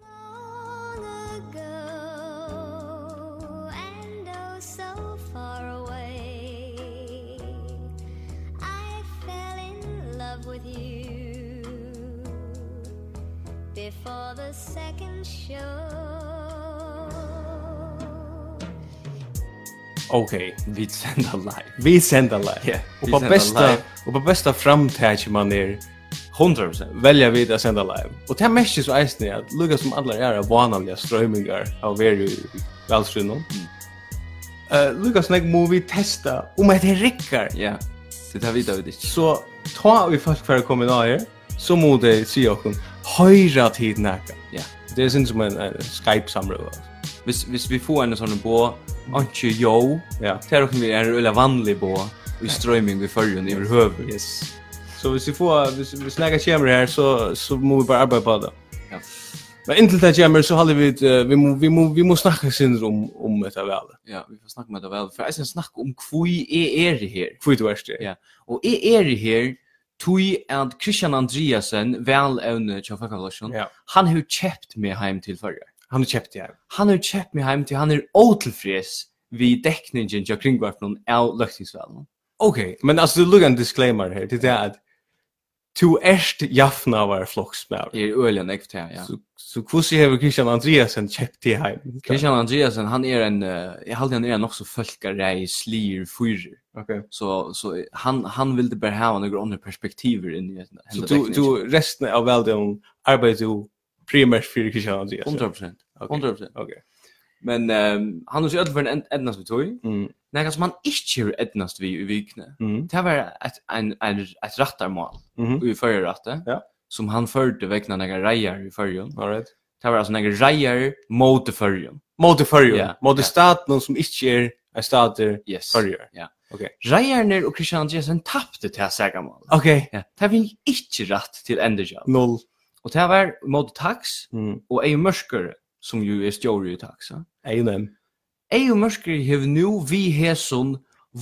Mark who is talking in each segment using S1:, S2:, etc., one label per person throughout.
S1: oh, before the second show
S2: Okej, vi sänder live.
S3: Vi sender live.
S2: Ja,
S3: og
S2: vi
S3: på
S2: sender
S3: bästa
S2: live.
S3: og på bästa framtæki man er
S2: 100%.
S3: velja vi at senda live. Og det mest så eisne at lukka som allar er vanliga strøymingar av veri velstrunum.
S2: Mm.
S3: Eh, Lukas nek må vi testa om at det rikkar.
S2: Ja. Det där vidare vi det.
S3: Så ta vi folk for å komme nå her, så må de si okkur, høyra tid nekka.
S2: Ja.
S3: Det er sin som en eh, Skype-samrøve. altså.
S2: Hvis hvis vi får en sån på anke yo.
S3: Ja.
S2: Det är också mer en eller er vanlig på i strömming i förrun i huvud.
S3: Yes. Så hvis vi får, hvis, hvis nekka kommer her, så, så må vi bare arbeide på det.
S2: Ja.
S3: Men inntil det kommer, så holder vi, et, eh, vi må, vi må, vi må snakke sin om, om dette vel.
S2: Ja, vi får um snacka med det väl. För jag ska snacka om kvui är är det här.
S3: Hvor du er det.
S2: Ja. Og jeg er i her tui at Christian Andreasen, vel evne til Fakavlasjon,
S3: Ja.
S2: han har kjøpt meg heim til førre.
S3: Han har kjøpt det her.
S2: Han har kjøpt meg heim til, han er åtelfres vi dekningen til kringvarpen av løktingsvelen.
S3: Ok, men altså, du lukker en disclaimer her, det er at du erst jaffnavar flokksmær.
S2: Jeg er øyelig enn ekte, ja.
S3: Så, så hvordan har Christian Andreasen kjøpt det her?
S2: Christian Andreasen, han er en, eh, jeg halde han er en også folkarei, slir, fyrer.
S3: Ok.
S2: Så, så han, han ville bare ha noen andre perspektiver inn i henne.
S3: Så du, du resten av velden arbeider du primært for Christian Andreas.
S2: 100%.
S3: Ok.
S2: 100%.
S3: Ok.
S2: Men um, han har jo ødelført en ednast vi tog.
S3: Mm.
S2: Nei, altså man ikke er ednast vi i vikene.
S3: Mm.
S2: Det var ett en en ett rattarmål
S3: Mhm.
S2: i förra rattet.
S3: Ja.
S2: Som han förde väckna några rejer i förrjun.
S3: All right.
S2: Det var alltså några rejer mot i förrjun.
S3: Mot förrjun.
S2: Ja.
S3: Mot
S2: Ja.
S3: staten som inte är en stat er i
S2: Yes.
S3: förrjun.
S2: Ja.
S3: Okej.
S2: Rejerner och Christian Andreasen tappte till sägamål.
S3: Okej.
S2: Ja. Det var inte rätt till Enderjob.
S3: Noll.
S2: Och det var mot tax
S3: Mm.
S2: och Ejo Mörsker som ju är stjorde i er tax. ja.
S3: Amen.
S2: Ejo Mörsker har nu vi Heson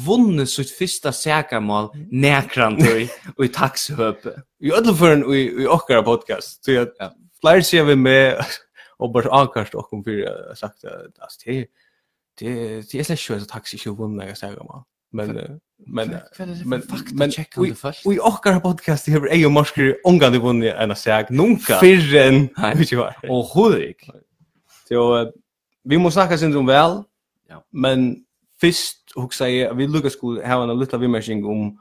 S2: vunnit sitt första sägamål näkrant och i taxhöpe.
S3: Vi ödlar för en i i ochkara podcast. Så jag
S2: Ja.
S3: flyr ser vi med och bara ankast och kom för sagt att alltså, det det det är släsch så taxi show när jag säger man. Men eh, men
S2: er
S3: men men vi-
S2: först?
S3: Vi okkar podcast hever ei og morsker ongan i vunni enn a seg
S2: Nunca.
S3: Fyrren
S2: Nei.
S3: Vi var
S2: Och Hudik.
S3: Så eh, vi må snakka sin om vel
S2: Ja.
S3: Men fyrst hugsa jeg Vi lukka skulle hava en lilla vimersing om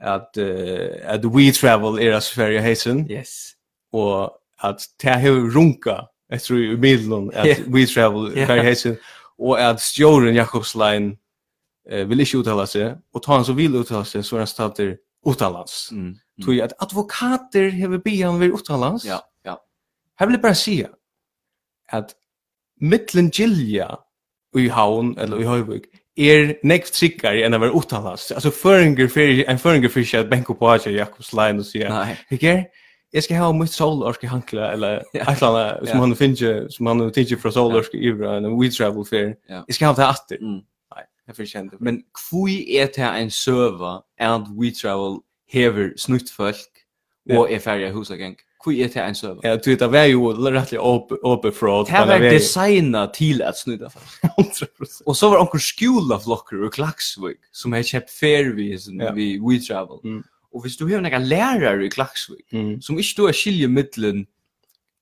S3: at, eh, at we travel er a Sverige heisen
S2: Yes.
S3: og at det hever runka jeg tror i middelen at
S2: Ja.
S3: we travel
S2: Ja.
S3: Sverige heisen og at stjåren Jakobslein eh, vil ikke uttala seg og ta han som vil uttala seg så er han stater utalans
S2: Mm.
S3: tog at advokater hever bian vir uttalands.
S2: Ja, ja.
S3: Her vil jeg bare sige at mittlen gilja i havn, eller i høyvig, er nekv tryggare enn å være uttalands. Altså, føringer fyrir, en føringer fyrir seg at benko på Aja Jakobs lein og sier,
S2: Nej.
S3: Hikker, jeg skal ha mitt solorsk i hankla, eller et eller annet som
S2: Ja.
S3: han finner, som han finner fra solorsk i Ivra, en we travel fyrir.
S2: Ja.
S3: Jeg skal ha det atter.
S2: Mm.
S3: Nei, jeg fyrir kjent det.
S2: Men kvui er det en søva and we travel hever snutt folk og er færre husageng. Kvui er det en søva.
S3: Ja, du vet, det var jo rettelig åpe fraud.
S2: Det var designa til at snudda folk.
S3: 100%.
S2: Og så var onkur skjulaflokker og klaksvig som har kjøpt fervis
S3: Ja.
S2: vi we travel.
S3: Mm.
S2: Og hvis du har nekka lærare i klaksvig
S3: Mm.
S2: som ikke du er skilje mittlen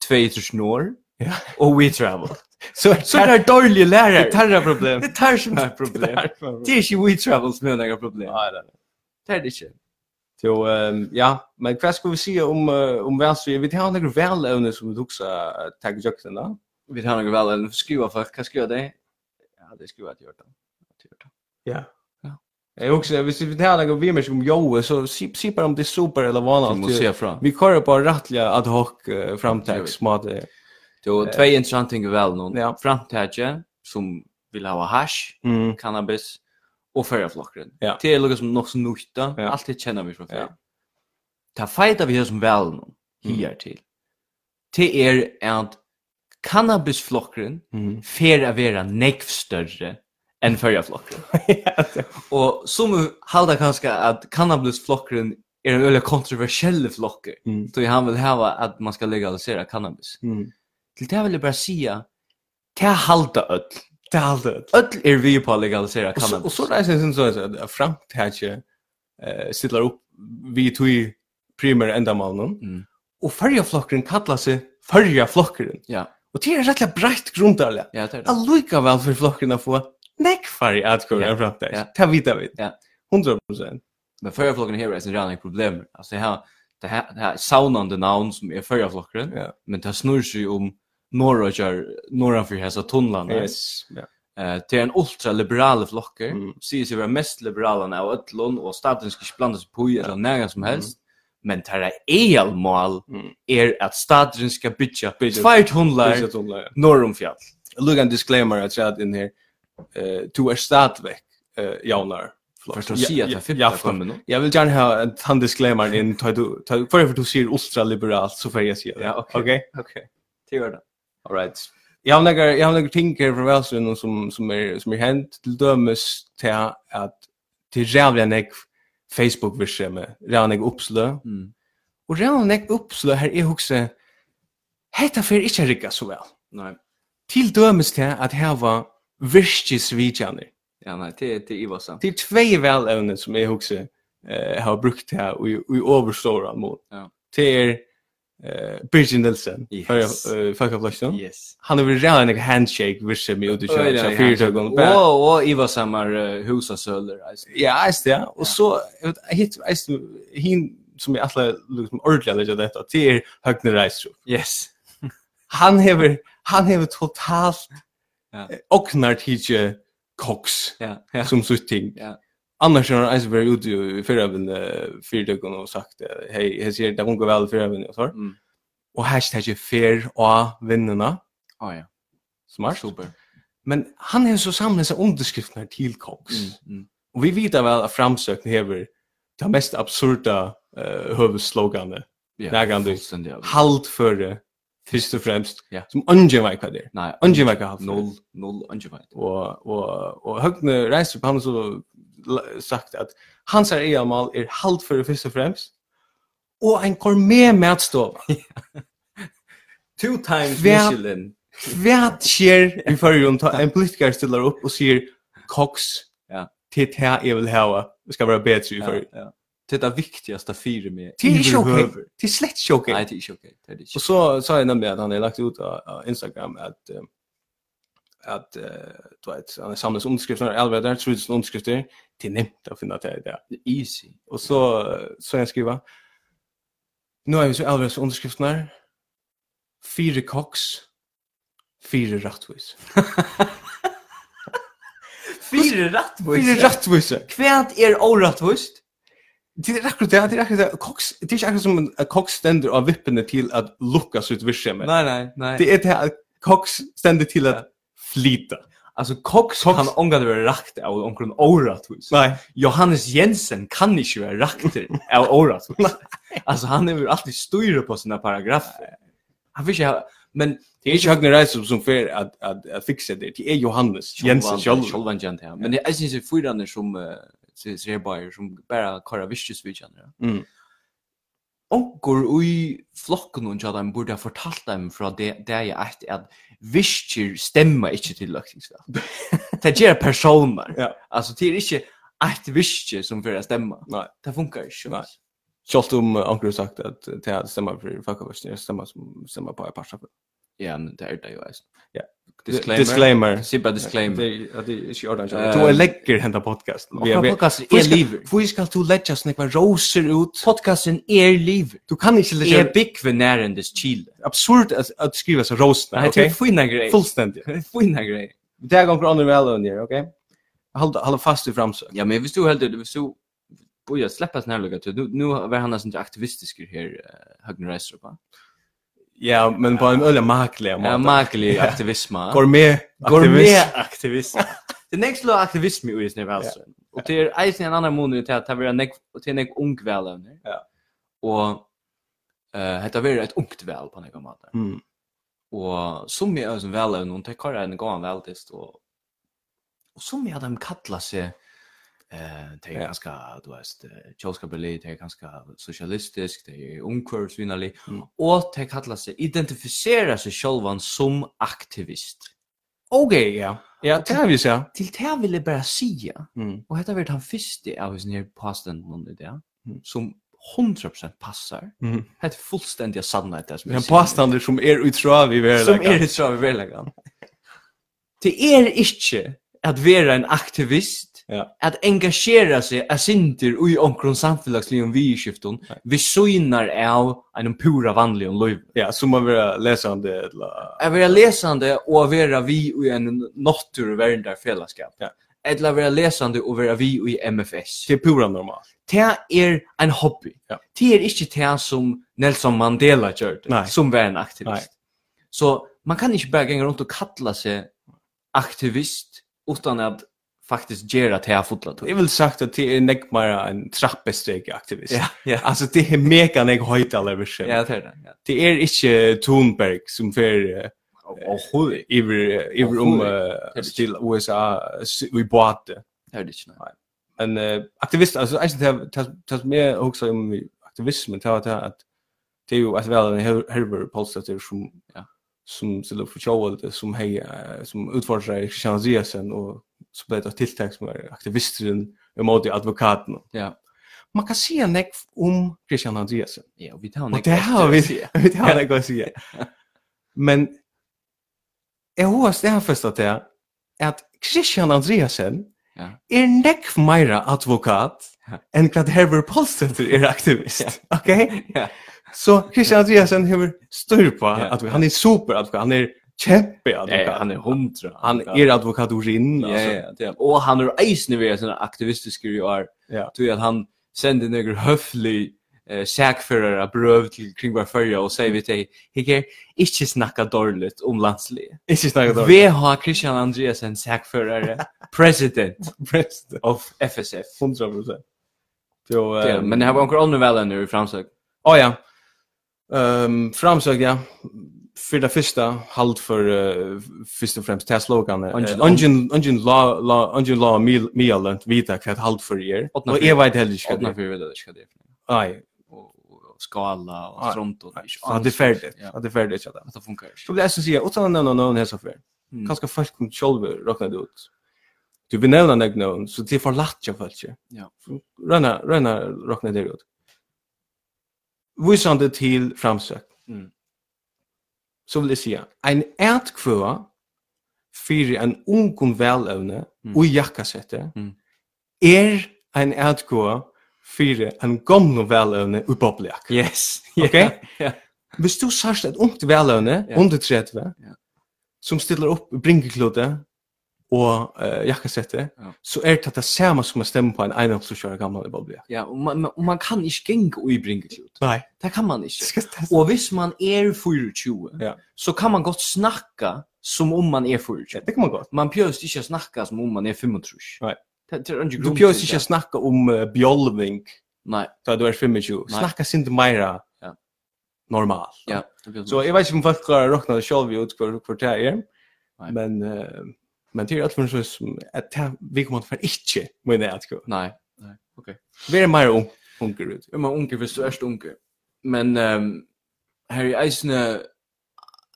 S2: 2000 år
S3: Ja.
S2: og we travel.
S3: Så
S2: Så det er dårlige lærere.
S3: tarra problem.
S2: Det tar som er problem. Det er ikke we travel som er noe problem.
S3: Ja, det er det.
S2: Det er det ikke.
S3: Så ehm ja, men vad ska vi se om eh, om vad så vi har några välövne som du eh, också tagit jakten då.
S2: Vi tar noe vel, eller skruva folk, hva skruva det? Ja, det skruva til Hjortan. Til Hjortan.
S3: Jag också eh, vi vi har några vi mer om Joe så se se bara om det är super eller vad
S2: Vi må se fra.
S3: Vi kör på rättliga ad hoc eh, framtags smart.
S2: Det var tve interessante ting vel nå.
S3: Eh. Ja.
S2: Framtidje, som vil ha hash,
S3: Mm.
S2: cannabis, og fyrraflokkeren.
S3: Ja.
S2: Det er noe som nok som nukta,
S3: Ja.
S2: alt det kjenner vi fra
S3: Ja.
S2: før. Ta feita vi her som vel nå,
S3: Mm.
S2: hier til. Det er at cannabisflokkeren
S3: Mm.
S2: fer a vera nekv større enn førja flokkren. Og som halda kanskje at cannabisflokkren er en veldig kontroversiell flokker,
S3: Mm.
S2: då han vil hava at man skal legalisera cannabis.
S3: Mm.
S2: Til det vil jeg bare sia, det halda öll.
S3: Det är allt. det.
S2: Öll er vi på å legalisera
S3: Och så- er
S2: cannabis.
S3: Och så där sen så att framtags eh sitter upp vi två primära ändamålen.
S2: Mm.
S3: Og färjaflokkeren kallar seg förja flokkeren.
S2: Ja.
S3: Og det er rettelig breit grundarlig.
S2: Ja, det er det.
S3: Allika vel for flokkeren å få nekvar i atkurren
S2: Ja,
S3: yeah. framtid.
S2: ja.
S3: Det vet vi.
S2: Ja.
S3: 100%.
S2: Men förjaflocken här är sin rena problem. Alltså det här det här det er här saunande namn som är förjaflocken,
S3: Ja.
S2: er men det snurrar sig om norra gör norra för häsa tunnlarna.
S3: Yes. Ja.
S2: Eh till en ultraliberal flocker,
S3: Mm.
S2: säger sig vara mest liberala av öllon och staten ska inte blanda sig på i eller nära som helst. Men er det här är mål
S3: Mm.
S2: är att er staten ska bygga
S3: Bygga-
S2: två tunnlar norr om fjall.
S3: Look en disclaimer att jag in här. Eh to är stadväck eh jaunar.
S2: Först att säga att det
S3: Ja,
S2: femte
S3: för-
S2: kommer nu.
S3: Jag vill gärna ha en han disclaimer in ta du ta för att du ser ultraliberalt så får jag säga det.
S2: Ja, okej.
S3: Okej.
S2: Okej. Det gör det.
S3: All right. Jag har några jag har några ting här från Välsund som som är som är hänt till dömes till att till jävla nek Facebook vischeme. Rävlig uppslö.
S2: Mm.
S3: Och rävlig nek uppslö här är också Hetta fer ikkje rikka så vel.
S2: Nej.
S3: Til dømes til at hava virkis vidjaner.
S2: Ja, nej, det det är ju sant.
S3: Det er tvei velevne som jeg husker eh, har brukt her og i, og i overståra mål.
S2: Ja.
S3: Det er eh, Birgit Nielsen, eh,
S2: Yes.
S3: yes. Falkaflasjon.
S2: Yes.
S3: Han har vært redan en handshake virse med ut i kjøret, så fyrtøkken.
S2: Och och Iva samar husa söler alltså.
S3: Ja, eist det.
S2: Ja.
S3: Og så, jeg vet, jeg hitt, eist, hin som jeg alle liksom ordentlig legger dette, det er Høgne Reistrup.
S2: Yes.
S3: Han hever, han hever totalt
S2: Ja.
S3: eh, oknar tidsje koks
S2: Ja. Ja.
S3: som sutt ting.
S2: Ja.
S3: Annars har han eisen vært ute i fyrrøven fyrtøkken og sagt eh, hei, jeg sier det kommer vel i fyrrøven og sånn.
S2: Mm.
S3: Og hashtagget fer og vinnerne,
S2: Ja ja.
S3: smart.
S2: Super.
S3: Men han har så samlet seg underskriftene til Cox.
S2: Mm.
S3: Og vi vet vel at framsøkene hever det mest absurda uh, høveslogane.
S2: Ja.
S3: Nærgande.
S2: fullständigt.
S3: Haltføre, først og fremst,
S2: Ja.
S3: som ungen vet hva det er.
S2: Nej.
S3: Ungen vet hva haltføre.
S2: Noll noll ungefight.
S3: og og og Høgne reiser på han så la- sagt at hans er EM-mal er halt for det første og fremst og en gourmet matstov.
S2: Two times
S3: Hver-
S2: Michelin.
S3: Hva skjer i førjun ta en politiker stiller opp og sier Cox
S2: Ja.
S3: til det her jeg vil hava skal være bedre i
S2: Ja.
S3: førjun.
S2: ja. Det är det viktigaste fyra med.
S3: Det er ikke
S2: överhuvud.
S3: ok. Det er slett ikke ok.
S2: Nej, det är inte okej. Det är inte.
S3: Og så sa jeg nemlig at han har lagt ut av, av Instagram at eh, at eh, du vet, han har samlet underskrifter, 11 der, 3000 underskrifter, til nevnt å finne til det.
S2: Det är easy.
S3: Og så så jeg skriva. Nå er vi så alvorlig så underskriftene. Fire koks. Fire rattvis.
S2: Fyra rätt
S3: Fire rattvis.
S2: Kvärt är orättvist.
S3: Det er akkurat det, det er akkurat det. Koks, det er ikke akkurat som en at koks stender av vippene til at lukka sitt virksomhet.
S2: Nej nej nej.
S3: Det er det at koks stender til at flita.
S2: Alltså Cox
S3: Cox-
S2: kan ångat vara rakt av omkring orättvist.
S3: Nei.
S2: Johannes Jensen kan inte vara rakter av året. alltså han är väl alltid styr på sina paragrafer. Han vill inte ha, men
S3: Det er ikke Høgne Reisum som fer at, at, at fikse det. Det er Johannes Jensen selv.
S2: Sjolvan Jant här. Men jag syns att fyra andra som eh, ser ser bara som bara kara visst vid andra.
S3: Mm.
S2: Onkur i flocken och jag dem borde ha fortalt dem från det där jag att att visst stämmer inte till lökningsväl. Det är personer.
S3: Ja.
S2: Alltså det är inte ett visst som för att stämma.
S3: Nei.
S2: Det funkar inte.
S3: Nej. Selv om eh, Anker har sagt at det er stemmer for fuckavørsen, det stemmer som stemmer på i parstafel.
S2: Ja, men er det är det ju alltså.
S3: Ja.
S2: Disclaimer.
S3: Disclaimer.
S2: Se bara disclaimer.
S3: Det er att det är inte ordan.
S2: Eh,
S3: Du är läcker hända podcast.
S2: Och kan podcasten
S3: Vi er-
S2: är
S3: ska
S2: er liv.
S3: Vi ska du lägga snäcka roser ut.
S2: Podcasten är er liv.
S3: Du kan inte
S2: Är
S3: lägga
S2: big för närendes chile.
S3: er
S2: er
S3: absurd att att skriva så roser,
S2: Nej, det är
S3: okej?
S2: fina grejer.
S3: Fullständigt.
S2: fina grejer.
S3: Det här går under väl under, okej? Håll håll fast i framsök.
S2: Ja, men vi stod helt det vi stod Boja, släppa sån här lugga till. Nu, nu var han nästan aktivistisk här,
S3: eh,
S2: uh, Högner Reistrup. va?
S3: Ja, men på en öle Eh, maklig
S2: Ja,
S3: måte.
S2: märklig
S3: Ja.
S2: aktivism.
S3: Går med.
S2: aktivism. Det nästa slå aktivism i Isne Välsen. Och det är eisen en er annan månad till att det är nek och det är nek ung väl.
S3: Ja.
S2: Och eh heter vi ett ungt väl på något mått.
S3: Mm.
S2: Og som jeg er som vel er noen, det kan en gang veldest, og, og som jeg de kattler seg, eh, det er
S3: Ja.
S2: ganske, du vet, kjølskapelig, det er ganske sosialistisk, det er omkvørsvinnerlig,
S3: Mm.
S2: og det kattler seg, identifiserer seg sjølvan som aktivist.
S3: Okej, ja. Ja, det har vi så.
S2: Til det vil jeg bare sige,
S3: Mm.
S2: og dette har vært han første av hans nye påstanden om det,
S3: Mm.
S2: som 100% passar.
S3: Mhm.
S2: Det är fullständiga er sannhet det som
S3: Men er påstander som är utrav i världen.
S2: som er- är det så vi vill lägga. Det är inte att vara en aktivist,
S3: Ja.
S2: att engagera sig av sinter i omkring samfällagslivet vi skifton, vi synar av en pura vanlig om liv.
S3: Ja, som man vill läsa om det eller
S2: Att vara läsande och att vara vi i en natur och världar fällskap.
S3: Ja.
S2: Eller vara läsande och vara vi i MFS.
S3: det är pura normalt.
S2: Det är en er hobby. er
S3: Ja.
S2: Det är inte det som Nelson Mandela gjorde,
S3: Nej.
S2: som var en aktivist.
S3: Nej.
S2: Så man kan inte bara gänga runt och kalla sig aktivist utan att faktiskt göra det här fotlat.
S3: Det är väl sagt att det är näck bara en trappesteg aktivist.
S2: Ja, ja.
S3: Alltså det är mega näck höjt alla versen.
S2: Ja, det är det. Ja.
S3: Det är inte Thunberg som för eh,
S2: Och hur?
S3: iver iver om
S2: er
S3: eh, till USA vi bought
S2: Det är det inte. nej.
S3: en eh, aktivist alltså alltså det tas tas mer också om aktivismen tar det att det er är ju att väl en Herbert Polstetter som
S2: Ja.
S3: som till och för Joel som hej eh, som utfordrar Christian Ziersen och så blev det tilltag som er är aktivisten emot advokaten.
S2: Ja.
S3: Man kan se en om Christian Andreasen.
S2: Ja, och vi tar en
S3: Och det har vi vi tar det går sig. Men jag hoppas det här första att det är att Christian Andreasen
S2: Ja.
S3: er nekk meira advokat
S2: Ja.
S3: enn hva Herbert Polstetter er aktivist.
S2: Ja.
S3: Ok?
S2: Ja.
S3: Så Christian Andreasen hever styr på
S2: Ja.
S3: advokat. Han er superadvokat. Han er
S2: Nej,
S3: kjempeadvokat.
S2: han är hundra.
S3: Han er advokat urin.
S2: Ja, ja, det är. Och han är eisen vid såna aktivistiska ju är.
S3: Ja.
S2: Tror att han sände några höflig eh säkförare bröv till kring var förra och säger vi till Hicker, inte snacka dåligt om landslivet.
S3: Ikke snakket om
S2: Vi har Christian Andreasen säkförare president
S3: president.
S2: of FSF.
S3: 100%. Jo,
S2: Det, men det här var några andra väl nu i framsök.
S3: Å Ah, ja. Ehm framsök ja. För det första halt för uh, först och främst det sloganet.
S2: Ungen-
S3: Ungen ungen la la ungen la mil mil lent vita kvad halt för er.
S2: Åtna
S3: Och
S2: fyra.
S3: jag vet heller inte.
S2: Skadna
S3: vad det
S2: för vi det ska det.
S3: är. Nej,
S2: Och och skala
S3: Ja,
S2: och stront och
S3: nej, så det är färdigt. Ja, det är färdigt så där.
S2: Att det funkar.
S3: Så det är så att säga utan någon någon någon här så för.
S2: Mm.
S3: Kanske folk kan själva räkna det ut. Du vill nämna någon någon så det får lätt jag för sig.
S2: Ja.
S3: Röna röna räkna det ut. Visande till framsök.
S2: Mm.
S3: så vil jeg si, en ærtkvøa fyrir en ungen velevne
S2: Mm.
S3: og jakkasette
S2: Mm.
S3: er en ærtkvøa fyrir en gamle velevne og boblejak.
S2: Yes.
S3: Ok?
S2: Ja.
S3: Hvis du sørst et ungt velevne,
S2: Ja.
S3: under 30,
S2: Ja.
S3: som stiller opp i bringeklode og uh, jakkasette,
S2: Ja.
S3: så er det det samme som å stemme på en ene som kjører gamle boblejak.
S2: Ja, och man och man kan inte gänga och i bringeklot.
S3: Nei.
S2: Det kan man inte.
S3: Skal det
S2: Och hvis man er är 24,
S3: Ja.
S2: så kan man gott snacka som om man er är 24.
S3: det kan man godt.
S2: Man pjöst inte snacka som om man är 25.
S3: Nej.
S2: Det er det är inte
S3: Du pjøs ikke snakke om uh, bjolving,
S2: Nej,
S3: da du er 25.
S2: Nei.
S3: Snakka sint meira
S2: Ja.
S3: normal.
S2: ja. det blir
S3: Så jeg vet ikke om folk klarer å råkne det selv ut hvor, hvor det er,
S2: Nei.
S3: men, eh, men det er alt for noe som at det, vi kommer til å være ikke, men det er at
S2: Nej. Nej. Okej.
S3: vi er mer un- unger ut.
S2: Om man unge hvis du er unge. Men ehm här är eisne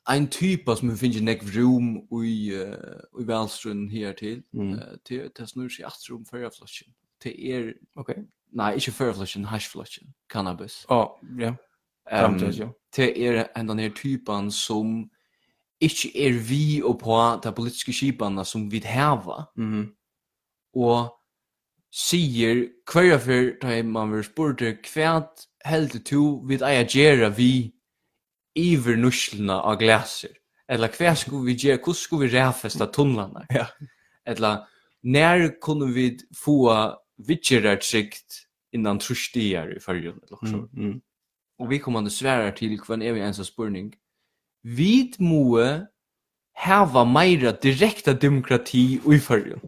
S2: ein typ som vi finner nek room i uh, i Valstrun här till.
S3: Mm.
S2: Eh, Det det snur sig att rum för flashen. Det är
S3: Ok.
S2: nej, inte för flashen, hash flashen, cannabis.
S3: Ja, ja,
S2: Ehm,
S3: framtid, ja.
S2: det er en den her typen som ikke er vi og på de politiske skipene som vi heva,
S3: Mhm.
S2: og sier hver for da man vil spørre hva held du vi eier gjøre vi iver nuslene av glaser? Eller hva skulle vi gjøre, hvordan skulle vi ræfeste tunnelene?
S3: Ja.
S2: Eller når kunne vi få vidtjere trygt innan trustier i fargen? Eller noe sånt?
S3: Mm, mm.
S2: og vi kommer til svære til hvem er vi ens spurning. Vi må hava meira direkta demokrati i fyrrjun.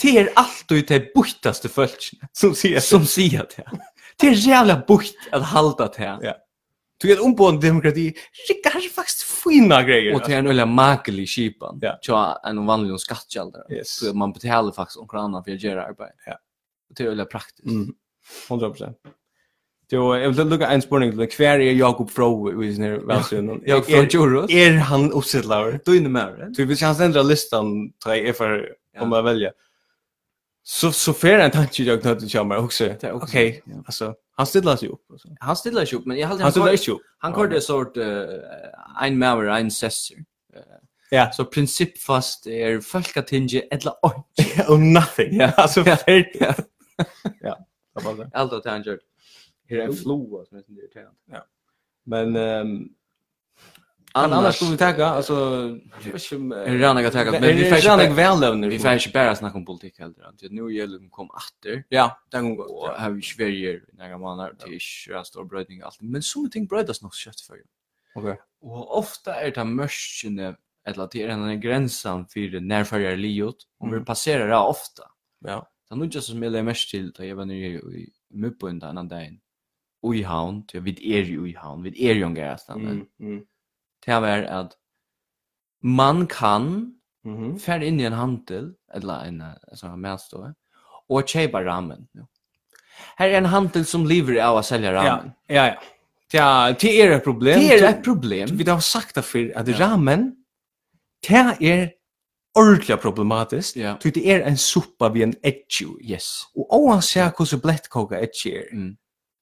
S2: Det er alltid det buttaste folk
S3: Som sier, så,
S2: som sier det. Det er jævla butt at halda det.
S3: Ja. du er ombående demokrati, det er faktisk fina greier.
S2: Og det er en øyla makelig kipan.
S3: Ja.
S2: Tja, en vanlig skattkjaldare.
S3: Yes.
S2: Så man betaler faktisk omkring annan for å gjøre arbeid.
S3: Ja.
S2: Og det er øyla praktisk.
S3: Mm. 100%. Jo, jeg vil lukke en spørning til, hver er Jakob Froh i sin her velsynet?
S2: Jeg fra Djurus.
S3: Er han oppsettlaver?
S2: Døyne med det.
S3: er Du vill chans ändra listan tre är för
S2: Ja.
S3: om man välja. så så fer en tanke jag knöt till mig också.
S2: Det är också-
S3: Okej,
S2: ja.
S3: alltså han stillar sig upp alltså.
S2: Han stiller ikke opp, men jeg halte
S3: Han stillar sig upp.
S2: Han kör det sort eh, ein maver ein sesser. Eh,
S3: Ja,
S2: Så principfast er folkatinge ella oj.
S3: oh nothing. Ja, alltså fer.
S2: Ja.
S3: Ja, det var det.
S2: Allt att han gör. Här är er en floa som är inte irriterande.
S3: Men ehm
S2: Annars,
S3: annars
S2: annars
S3: skulle vi
S2: ta
S3: tacka alltså jag vet inte om, eh,
S2: en rann att tacka, men vi
S3: är
S2: får
S3: rannig
S2: inte
S3: väl då nu.
S2: vi får inte bara snacka om politik heller. Det nu gäller det er kom åter.
S3: Ja, det går
S2: Och
S3: gott.
S2: här vi Sverige några månader till jag står brödning allt. Men som ting brödas nog kött för.
S3: Okej.
S2: Og ofta er det mørkene, eller det er denne grensen for nærfører livet, og vi
S3: Mhm.
S2: passerer det ofta.
S3: Ja.
S2: Det er noe som jeg legger mest til, da jeg var nere i Møppøen den andre dagen, og i havn, til vi er jo i havn, vi er jo en gærestand,
S3: Mm. mm,
S2: til var at man kan
S3: Mhm.
S2: fære inn i en handel, eller en eh, sånn medstå, og kjøpe ramen. Her er en handel som lever av å selge
S3: Ja,
S2: ramen.
S3: ja, ja. Ja, det är ett problem.
S2: Det er et problem.
S3: Vi har sagt det för att
S2: Ja.
S3: ramen det är ordentligt problematiskt.
S2: Ja.
S3: Ty det är en soppa vid en edge.
S2: Yes.
S3: Og oavsett hvordan blettkoka er tjer,
S2: Mm.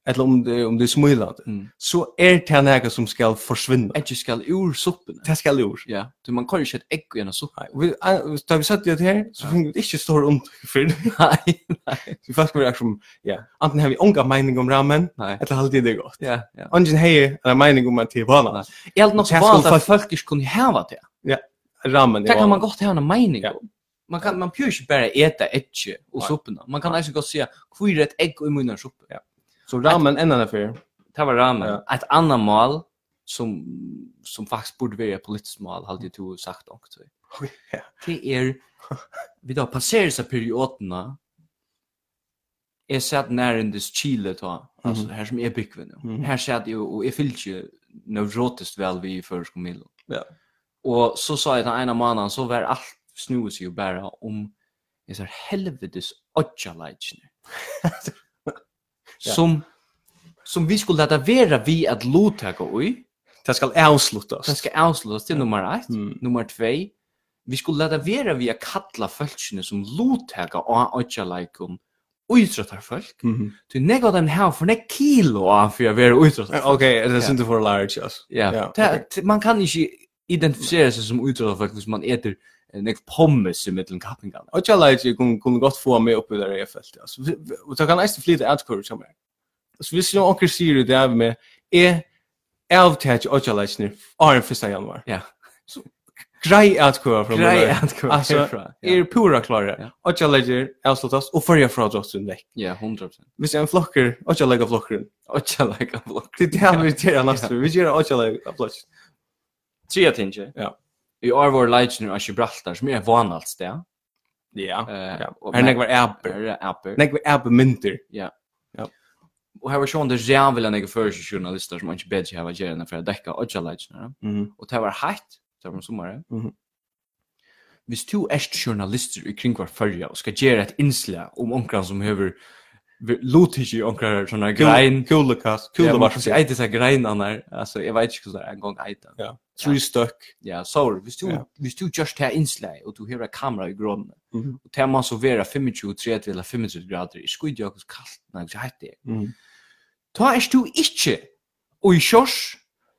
S3: eller om det, om det er smilande,
S2: Mm.
S3: så er det noe som skal forsvinne.
S2: Ikke skal ur soppen.
S3: Det skal gjør.
S2: Ja, du man kan ju inte ett ägg i en soppa.
S3: Nei, vi, eh, da vi satt i det her, så
S2: Ja.
S3: finn vi ikke stor om for det.
S2: Nej,
S3: Vi faktisk var akkurat som, ja, enten har vi unga mening om ramen,
S2: nej.
S3: eller halvt det er godt.
S2: Ja, ja.
S3: Ungen hei en mening om at det er vana.
S2: Jag hade något
S3: Det här skulle
S2: valt att
S3: fast-
S2: folk inte kunde häva det.
S3: Ramen
S2: Det
S3: er
S2: kan man gott ha en mening
S3: Ja.
S2: om. Man kan man pjør inte bara äta ägg och
S3: Nej.
S2: sopporna. Man kan alltså gott säga kvir ett ägg er i munnen soppa.
S3: Ja. Så ramen er enn enn affär.
S2: Det var ramen.
S3: Ja.
S2: Ett annat mål som som faktiskt borde vara ett politiskt mål hade jag tog sagt er, också.
S3: Ja.
S2: Det är vi då passerar så perioderna är så att när den this chile då alltså här som är byggven nu.
S3: Mhm.
S2: Här så att ju och är fyllt ju neurotiskt väl vi för skomil.
S3: Ja.
S2: Och så sa jag den ena mannen så var allt snus ju bara um om är så helvetes ocha lightning.
S3: Ja.
S2: Som som vi skulle låta vara vi att låta gå i.
S3: Det skal avsluttas.
S2: Det ska avslutas till nummer 1.
S3: Mm.
S2: Nummer 2. Vi skulle lata vera vi att kalla fölkene som lottaka og atja leikum uitrottar folk.
S3: Mhm.
S2: Du nega dem her for nek kilo av for å være uitrottar.
S3: Ok, det er synd for large, altså.
S2: Ja, ta- ta- man kan ikke identifisere seg som uitrottar folk hvis man eter eh, nek pommes i mittelen kappingarna.
S3: Och jag lite kunde kunde gott få mig upp i det här fältet alltså. Och så kan nästan flyta out courage som er. är. Så visst jag också ser det där med är avtach och jag lite nu är en första januari.
S2: Ja.
S3: Grej out courage från
S2: Grei
S3: det.
S2: at gå
S3: Alltså,
S2: herfra.
S3: Är pura
S2: Ja.
S3: klara. Och jag lägger avslutas och förra från drottningen veck.
S2: Ja, 100%.
S3: Visst är en flocker och jag lägger flocken.
S2: Atja leika blokk.
S3: Det där vi det nästa. Vi gör och jag lägger flock.
S2: Tria tinge.
S3: Ja.
S2: I år var leikner av Gibraltar, som er vanalt sted.
S3: Ja.
S2: Eh,
S3: Ja.
S2: og-
S3: Här några apper.
S2: Her er apper.
S3: Några apper mynter.
S2: Og her var sjón der jævla nek fyrir journalistar som ikkje bedre hava gjerne enn for å dekka odja leikene.
S3: Mhm.
S2: Og det var heitt, det var um om sommaren.
S3: Mhm.
S2: Hvis du er journalister i kring hver fyrja og skal gjøre et innslag om onkran som hever lotig i onkran sånne grein.
S3: Kul kast. Kul
S2: var
S3: var.
S2: så eit disse greinene, eh? altså jeg vet ikke hvordan en gang eit det.
S3: Ja. Tre stök.
S2: Ja, sorry, hvis du,
S3: Ja.
S2: hvis du just her innslag og du hever kamera i grånene,
S3: Mhm.
S2: og det må så være 25, 30 eller 25 grader, er i skudde og kaldt, nei, så heit det er.
S3: Mhm.
S2: Ta er du ikke og i kjørs,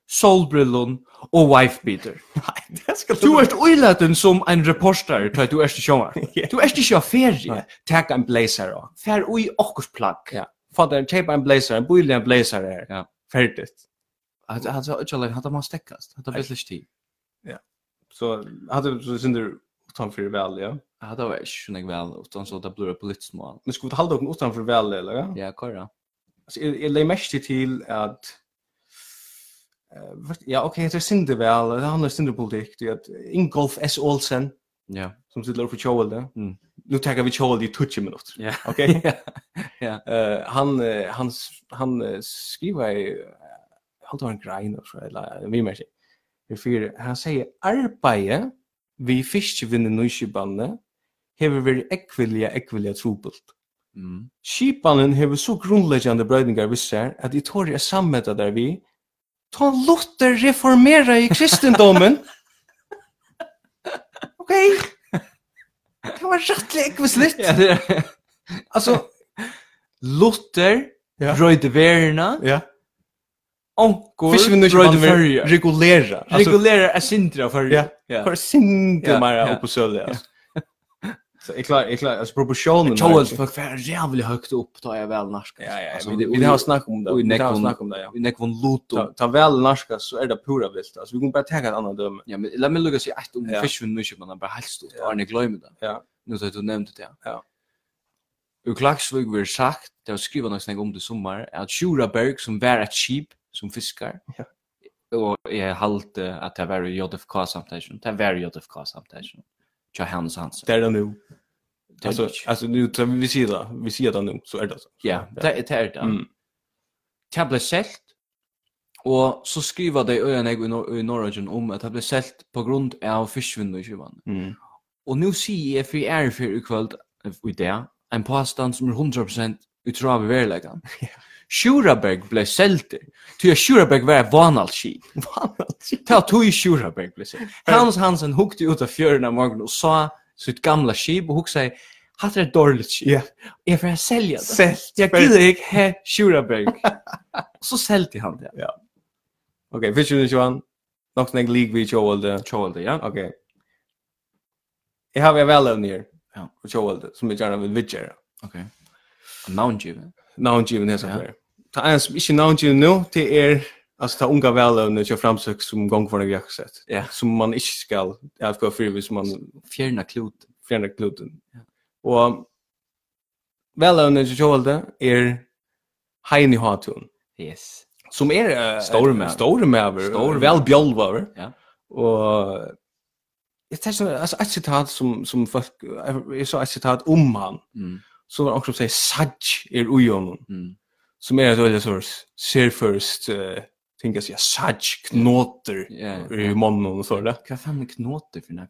S2: solbrillon og wifebeater.
S3: Nei, det skal
S2: Du er uilaten som en reporter, ta du er ikke sjåar. Du er ikke sjåar ferie.
S3: Nei. Takk en blazer og.
S2: Fær ui okkurs plagg.
S3: Ja. Fader, en kjøp en blazer, en bolig en blazer er her.
S2: Ja.
S3: Ferdigt.
S2: Han sa ikke alene, han må stekkast. Han tar veldig tid.
S3: Så hade du så synder utanför väl, ja.
S2: Han tar ikke sånn jeg vel, utan så det blir politisk mål.
S3: Men skulle vi hålla dem utanför väl eller? Ja.
S2: Ja, er korra.
S3: Alltså jag jag lägger mest till att Eh, vart- ja, okej, det är synder väl. Det er handlar synder politik. Det är att Ingolf S. Olsen
S2: Ja.
S3: som sitter uppe på Joel där.
S2: Mm.
S3: Nu tar vi Joel i 20 minuter.
S2: Ja.
S3: Okej. Eh han eh, han s- han eh, skriver i han tar en grein och så eller eh, vi mer. Vi för han säger arbete vi fiskevinnen nu skibande hever vi ekvilja ekvilja trupult.
S2: Mm.
S3: Skipanen hever så grundläggande brödningar vi ser att i torg är sammeta där vi ta Luther reformera i kristendomen. Okej. Det var rättligt ekvisligt.
S2: Ja, det er. Alltså Luther
S3: Ja.
S2: bröjde verna,
S3: Ja.
S2: onkor
S3: Fisk vi nu
S2: bröjde
S3: inte
S2: verna.
S3: regulera. Alltså
S2: Regulerar är sindra för
S3: Ja. för
S2: Ja,
S3: sinte
S2: ja.
S3: mera upp på söder. alltså. Så är klar, är klar, alltså proportionen.
S2: Charles för kvar jävligt högt upp
S3: er
S2: tar jag väl narska.
S3: Ja, ja,
S2: Alltså,
S3: vi vi har snakk om det.
S2: och i
S3: Vi har
S2: Nekon-
S3: snakk om det, ja.
S2: vi nekvon luto.
S3: Ta, ta väl narska så är det pura vilt. Alltså vi kommer bara ta ett annat döme.
S2: Ja, men låt mig lukka sig att om
S3: Ja.
S2: fiskvinn nu köper man bara er helt stort.
S3: Ja.
S2: Arne glömmer det.
S3: Ja.
S2: Nu så att du nämnde det.
S3: Ja.
S2: Ur Klaksvig vi har sagt, er det har skrivit något snägg om det i sommar, att Sjura Berg som var ett skip som fiskar,
S3: Ja.
S2: og jeg halte at det var i JFK samtidig, det var i JFK samtidig, Tja Hans Hansen.
S3: Det är det nu.
S2: Det er
S3: Alltså
S2: det ikke.
S3: alltså nu tar vi vi ser det. Vi ser det nu så är det så.
S2: Ja, det er det. Er det.
S3: Mm.
S2: Det ble selt, og så skriva det i øyne jeg i Nor- i Norrøgen om at det ble selt på grunn av fiskvinner i kjøvann.
S3: Mm.
S2: Og nu sier jeg for jeg er for i kvöld, i dag, en påstand som er 100% utrav i verleggen. Sjuraberg ble selter. Ty at Sjuraberg var vanalski. Ta tog Sjuraberg ble selter. Hans Hansen hukte ut av fjøren av morgenen og sa sitt gamla skip og hukte seg, hatt er et dårlig skip.
S3: Ja.
S2: Jeg får
S3: er-
S2: selja det.
S3: Selt.
S2: Jeg gidder ikke he Sjuraberg. Og så selte han det.
S3: Okej, fiskar du Johan? Något snägg lig vi Joel det.
S2: Tjål det, ja.
S3: Okej. Jag har väl väl ner.
S2: Ja.
S3: Och Joel det som vi gärna vill vidgera.
S2: Ok. Navngivet.
S3: navngiven hesa er
S2: Ja.
S3: ja. Ta en som ikke navngiven nå, det er altså ta unga veløvne til framsøk som gong for noe jakksett.
S2: Ja.
S3: Som man ikke skal avgå for hvis man
S2: Fjerna klot.
S3: fjerner kluten. Og veløvne til kjålde er Heini Hatun,
S2: Yes.
S3: som er uh,
S2: Stor maver.
S3: Store maver,
S2: Stor
S3: eh, vel bjolvaver.
S2: Ja.
S3: Og eh, jeg tar sånn, altså et sitat som, som folk, jeg så et sitat om han,
S2: Mm.
S3: så um var det også som sier, Saj er ujonen
S2: Mm.
S3: som är ett väldigt så ser först eh tänka sig saj knoter
S2: Ja, ja.
S3: i mannen och så där.
S2: Hva fan er knoter for noe?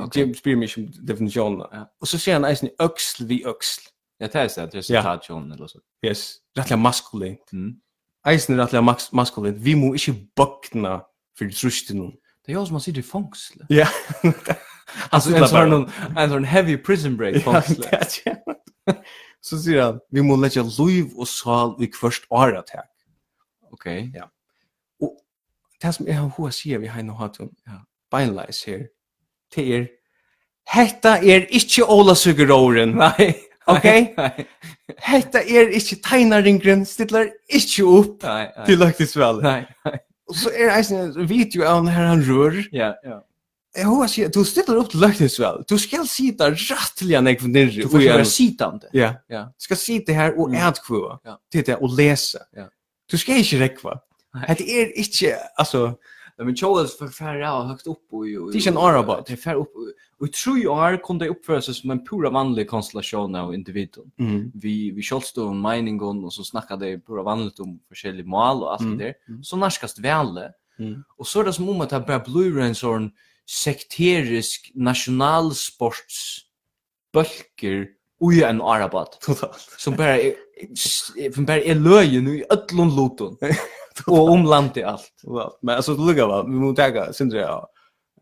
S2: Okej.
S3: Jim Spear mission definition.
S2: Ja.
S3: Och um så ser han eisen öxel vid öxel.
S2: Ja, det er sånn, det er
S3: Ja.
S2: sånn tatsjon eller sånn.
S3: Yes, rättliga maskulin.
S2: Mm.
S3: Eisen är rättliga max maskulin. Vi må inte buckna för trusten.
S2: Det är jag som har suttit i fängsle.
S3: Ja.
S2: Alltså en sån en sån heavy prison break fängsle.
S3: fängsle. er Så säger han, vi må lägga liv och sal i kvörst arattack.
S2: Okej.
S3: det som jeg har hva sier vi Heino Hatun,
S2: Ja.
S3: beinleis her, det er, hetta er ikkje Ola Sugeråren,
S2: Nej.
S3: Okej.
S2: Nej.
S3: hetta er ikkje tegnaringren, stiller ikkje opp
S2: Nej. nej.
S3: til løgtingsvel.
S2: Nej.
S3: Og så er det en video av han her han rør,
S2: Ja, ja.
S3: jeg hva sier, du stiller opp til løgtingsvel, du skal sida rattelig nek for nirri,
S2: Du får ju vara sittande.
S3: Ja,
S2: Ja.
S3: Du skal sida her og
S2: Mm.
S3: etkvua,
S2: Ja.
S3: til det, og lese.
S2: Ja.
S3: Du skal ikkje rekva.
S2: Nei.
S3: Hetta er ikkje, altså,
S2: Nej, men Charles för färre har högt upp och ju.
S3: Det är ikke en Arabot.
S2: Det är färre upp. Och i tre år kunde det uppföra sig som en pura vanlig konstellation av individen. Vi vi kjolste om meningen och så snackade det pura vanligt um om forskjellige mål och allt
S3: Mm.
S2: det där. Så narskast väl.
S3: Mm.
S2: Och så är det som om att det er bara blir en sån sekterisk nationalsports bölker i en arabat
S3: totalt.
S2: som bara är som bara är löjen i öllon loton och om landet allt.
S3: Well, men alltså det luggar va. Vi måste ta Sindra. ja.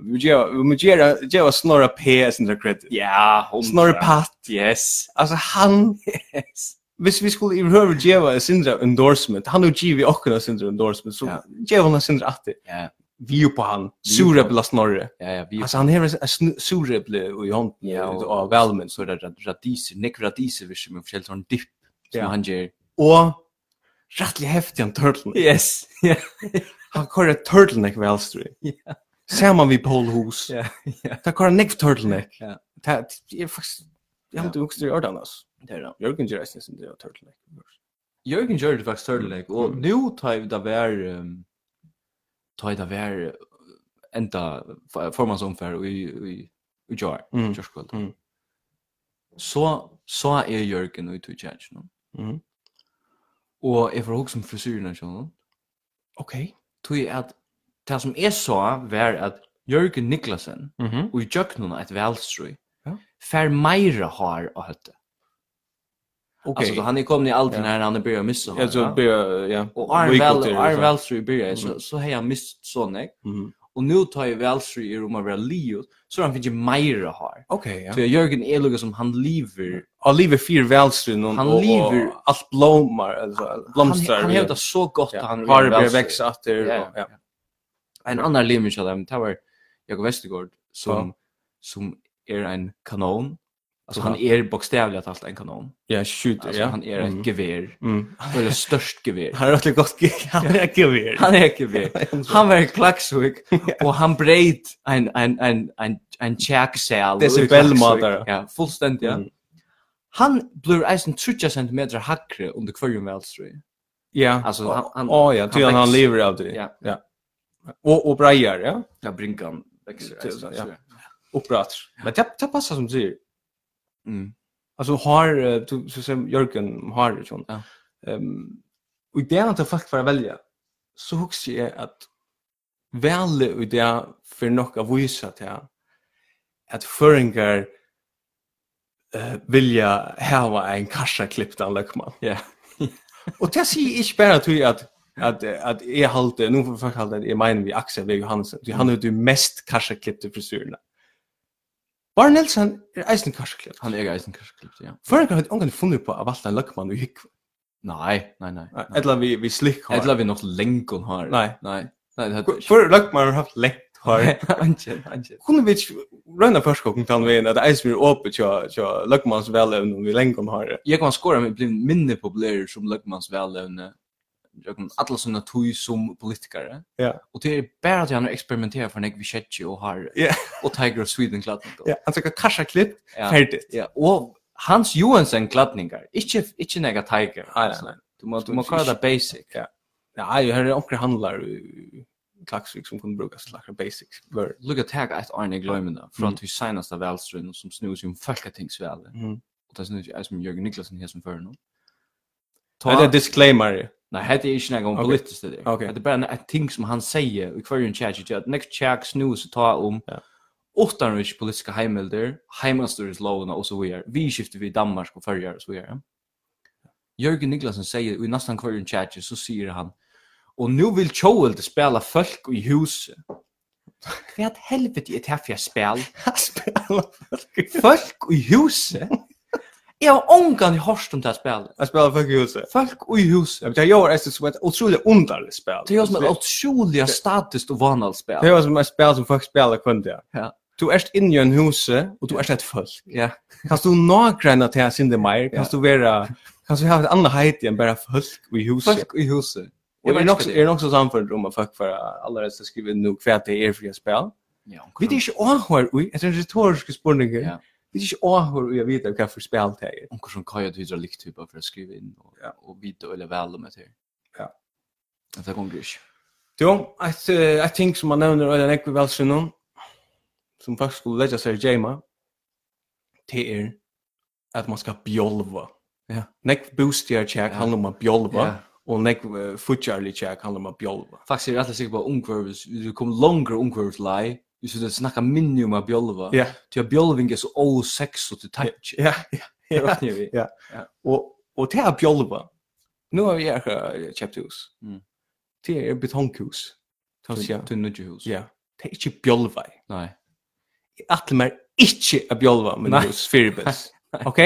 S3: Vi måste göra- vi måste göra göra Snorra P Sindra credit.
S2: Ja, om
S3: Snorra Pat.
S2: Yes.
S3: Alltså han
S2: Yes.
S3: Hvis vi skulle i hövd geva Sindra endorsement, han er och GV och en Sindra endorsement, så
S2: Ja.
S3: geva han Sindra att
S2: Ja,
S3: vi är på han,
S2: Vi er
S3: sura
S2: på-
S3: bla snorre.
S2: ja, ja, vi
S3: Alltså han er har sura bla i hand
S2: Ja, og-
S3: och välmen.
S2: så är det rad- radiser, nekv radiser vi som är forskjellig sån dipp som
S3: Ja.
S2: han ger.
S3: Och rättligt häftig han turtle.
S2: Yes. Ja,
S3: Han kör ett turtleneck välstry.
S2: Ja.
S3: Ser man vid Paul Hus.
S2: Ja, ja.
S3: Ta kör neck turtleneck.
S2: Ja.
S3: Ta det är faktiskt jag har inte vuxit i ordan alltså.
S2: det är det.
S3: Jörgen Jersen som det turtleneck.
S2: Jørgen gjør det faktisk tørrleg, og
S3: Mm.
S2: nu tar vi det vær, um, tar vi det vær uh, enda f- formannsomfær i, i, i jar,
S3: Mm.
S2: kjørskvall.
S3: Mm.
S2: Så, så er Jørgen ute i tjertjen,
S3: Mhm.
S2: og jeg får um hokse om frisyren og sånn,
S3: Okej.
S2: tog jeg at det som jeg sa var at Jørgen Niklasen,
S3: Mhm.
S2: og i jøknen et velstrøy,
S3: Ja.
S2: fær meira har av høtte.
S3: Okej.
S2: Altså, då han er kommet i alderen
S3: Ja.
S2: her, han er begynt å missa
S3: Alltså be ja.
S2: Och Arn
S3: Week
S2: Vel
S3: till,
S2: Arn
S3: så. Mm.
S2: Velser i början så så har jag mist Sonic
S3: Mhm.
S2: og nu tar jeg velsri er om å være livet, så har han finnes meira har.
S3: Okej, ja.
S2: Så Jørgen er lukka som han lever,
S3: Han lever fyr välstrun och
S2: Han
S3: och- och
S2: lever-
S3: allt blommar alltså blomstrar.
S2: han, han hevda så godt
S3: ja.
S2: at han
S3: han
S2: er
S3: har börjat
S2: Valsrud.
S3: växa åter
S2: Ja,
S3: ja. ja.
S2: En annan limmer av dem, det var Jakob Vestergaard, som, som er en kanon. Alltså han er bokstavligt talt en kanon.
S3: Ja, shoot,
S2: Alltså,
S3: ja. Mhm.
S2: Han er ett gevär.
S3: Mm.
S2: Han är er det störst gevär.
S3: Han har alltid gott er gig. Han är kul.
S2: Han er är ett gevär. Han var i klaxvik och han breit en, en, en, en, en tjäksel.
S3: Decibelmatare.
S2: Ja, fullständigt. Ja.
S3: Mm.
S2: Han blir eisen 30 centimeter hackre under kvarjen välströj.
S3: Ja.
S2: Alltså, han- han-
S3: Ja, ja, ty han
S2: han
S3: han
S2: växer.
S3: lever alltid.
S2: Ja.
S3: Ja. Och och brejar, ja.
S2: Ja, brinkan växer. eisen,
S3: Ja.
S2: så-
S3: Upprat. Men det det passar som du säger.
S2: Mm.
S3: Alltså har eh, du så som Jörgen har det sån.
S2: Ja.
S3: Ehm och det är inte fakt för att välja. Så hooks jag att välja ut det för något av vissa till att föringar eh vilja ha en kassa klippt av lökman.
S2: Ja.
S3: Och det säger jag bara till att att att är halt nu för folk halt jag menar vi Axel Veg Johansen. Du han har ju er mest kassa klippte frisyrerna. Bar Nelson er är eisen kassa klippt.
S2: Han är eisen kanske klippt, ja.
S3: Förr har jag ungen funnit på av alla lökman och hick.
S2: Nej, nej, nej.
S3: Eller vi vi slick har.
S2: Eller vi nog länkon har.
S3: Nej.
S2: Nej. Nej, det
S3: er
S2: hade
S3: förr lökman har haft lätt har.
S2: Anje, anje.
S3: Kunde vi rönna förskogen kan vi att eisen blir öppet så så lökmans väl även om vi länge har.
S2: Jag kan skora med blir minne populär som Lökmans välövne. Jag kan alla såna tui som politiker.
S3: Ja.
S2: Och det er är bara att jag nu experimenterar för Nick Vichetti och har
S3: Ja.
S2: och Tiger of Sweden kladdningar.
S3: Ja, alltså kassa klippt
S2: Ja.
S3: färdigt.
S2: Ja, och Hans Johansen kladdningar. Inte inte några Tiger.
S3: Nej, nej, nej.
S2: Du måste du måste kalla det basic.
S3: Ja, jag har onkel er handlar i Klaxvik som kunde brukas till lackar basics. Bör.
S2: Lukka tag at Arne Glömenda från
S3: Mm.
S2: att vi senaste välströn som snus i en folketingsvälle.
S3: Mm.
S2: Och det snus ju som Jörgen Niklasen här som för nu.
S3: Det är en er disclaimer.
S2: Nei, hette er ikke noe om
S3: Ok.
S2: politisk det der.
S3: Ok.
S2: Det er bare en- et ting som han sier i hver en tjekk, ikke at next tjekk snus og um ta om
S3: Ja.
S2: åttanrykk politiske heimelder, heimelstyreslovene og så videre. Vi skifter vi i Danmark og Førjar og så videre. Jørgen Niklasen sier, og i nesten hver en tjekk, så sier han, og nå vil Kjøvelde spela folk i huset. Hva er helvete er det her for jeg spiller?
S3: Spela.
S2: Folk i huset? Jeg har ångan i hørst om det her spillet.
S3: Jag spelar fuck you så.
S2: Folk i huset.
S3: Jag jag gör ett som ett otroligt underligt spel.
S2: Det är ju som ett otroliga statiskt och vanligt spel.
S3: Det är som ett spel som folk spelar kunde.
S2: Ja.
S3: Du är in i en hus och du är ett folk.
S2: Ja.
S3: Kan du några till sin det mer? Kan du vara kan du ha ett annat height än bara folk i huset?
S2: Folk i huset.
S3: Och
S2: Jag
S3: är
S2: vet
S3: också
S2: inte
S3: är också samfund om att folk för alla resta skriver nu kvärt det är för spel.
S2: Ja,
S3: Vi
S2: er- vi
S3: vet ikke åhør, ui, etter en retorisk spurning,
S2: Ja.
S3: vi vet ikke åhør ui, jeg vet hva for spil det er.
S2: onkel som kajer till hydra likt typ för att skriva in och
S3: Ja.
S2: och vita eller väl om det här.
S3: Ja.
S2: Det går grysch.
S3: Jo, et, eh, et ting som man nevner, og den ekve velsynnom, som faktisk skulle legge seg i Jema, det er at man skal bjolva.
S2: Ja.
S3: Nekv boostier tjekk handler om å bjolva,
S2: Ja.
S3: um og nekv eh, futjarlig tjekk handler om å bjolva.
S2: Faktiskt är jag rätt säker på onkvärvs. Du kommer längre onkvärvs lie. Du skulle snacka minimum av bjölva.
S3: Ja,
S2: Till att bjölving är er så o sex och till touch.
S3: ja, ja.
S2: Det räknar vi.
S3: Og, og det er bjolva. Nå har vi her kjøpt hus.
S2: Mm.
S3: Det er betonkhus. Kan vi si, ja.
S2: Till nudgehus.
S3: Ja. Det er ikke bjolva.
S2: Nej.
S3: atle mer ikkje a bjolva men
S2: Nei.
S3: hos Firibus. Ok?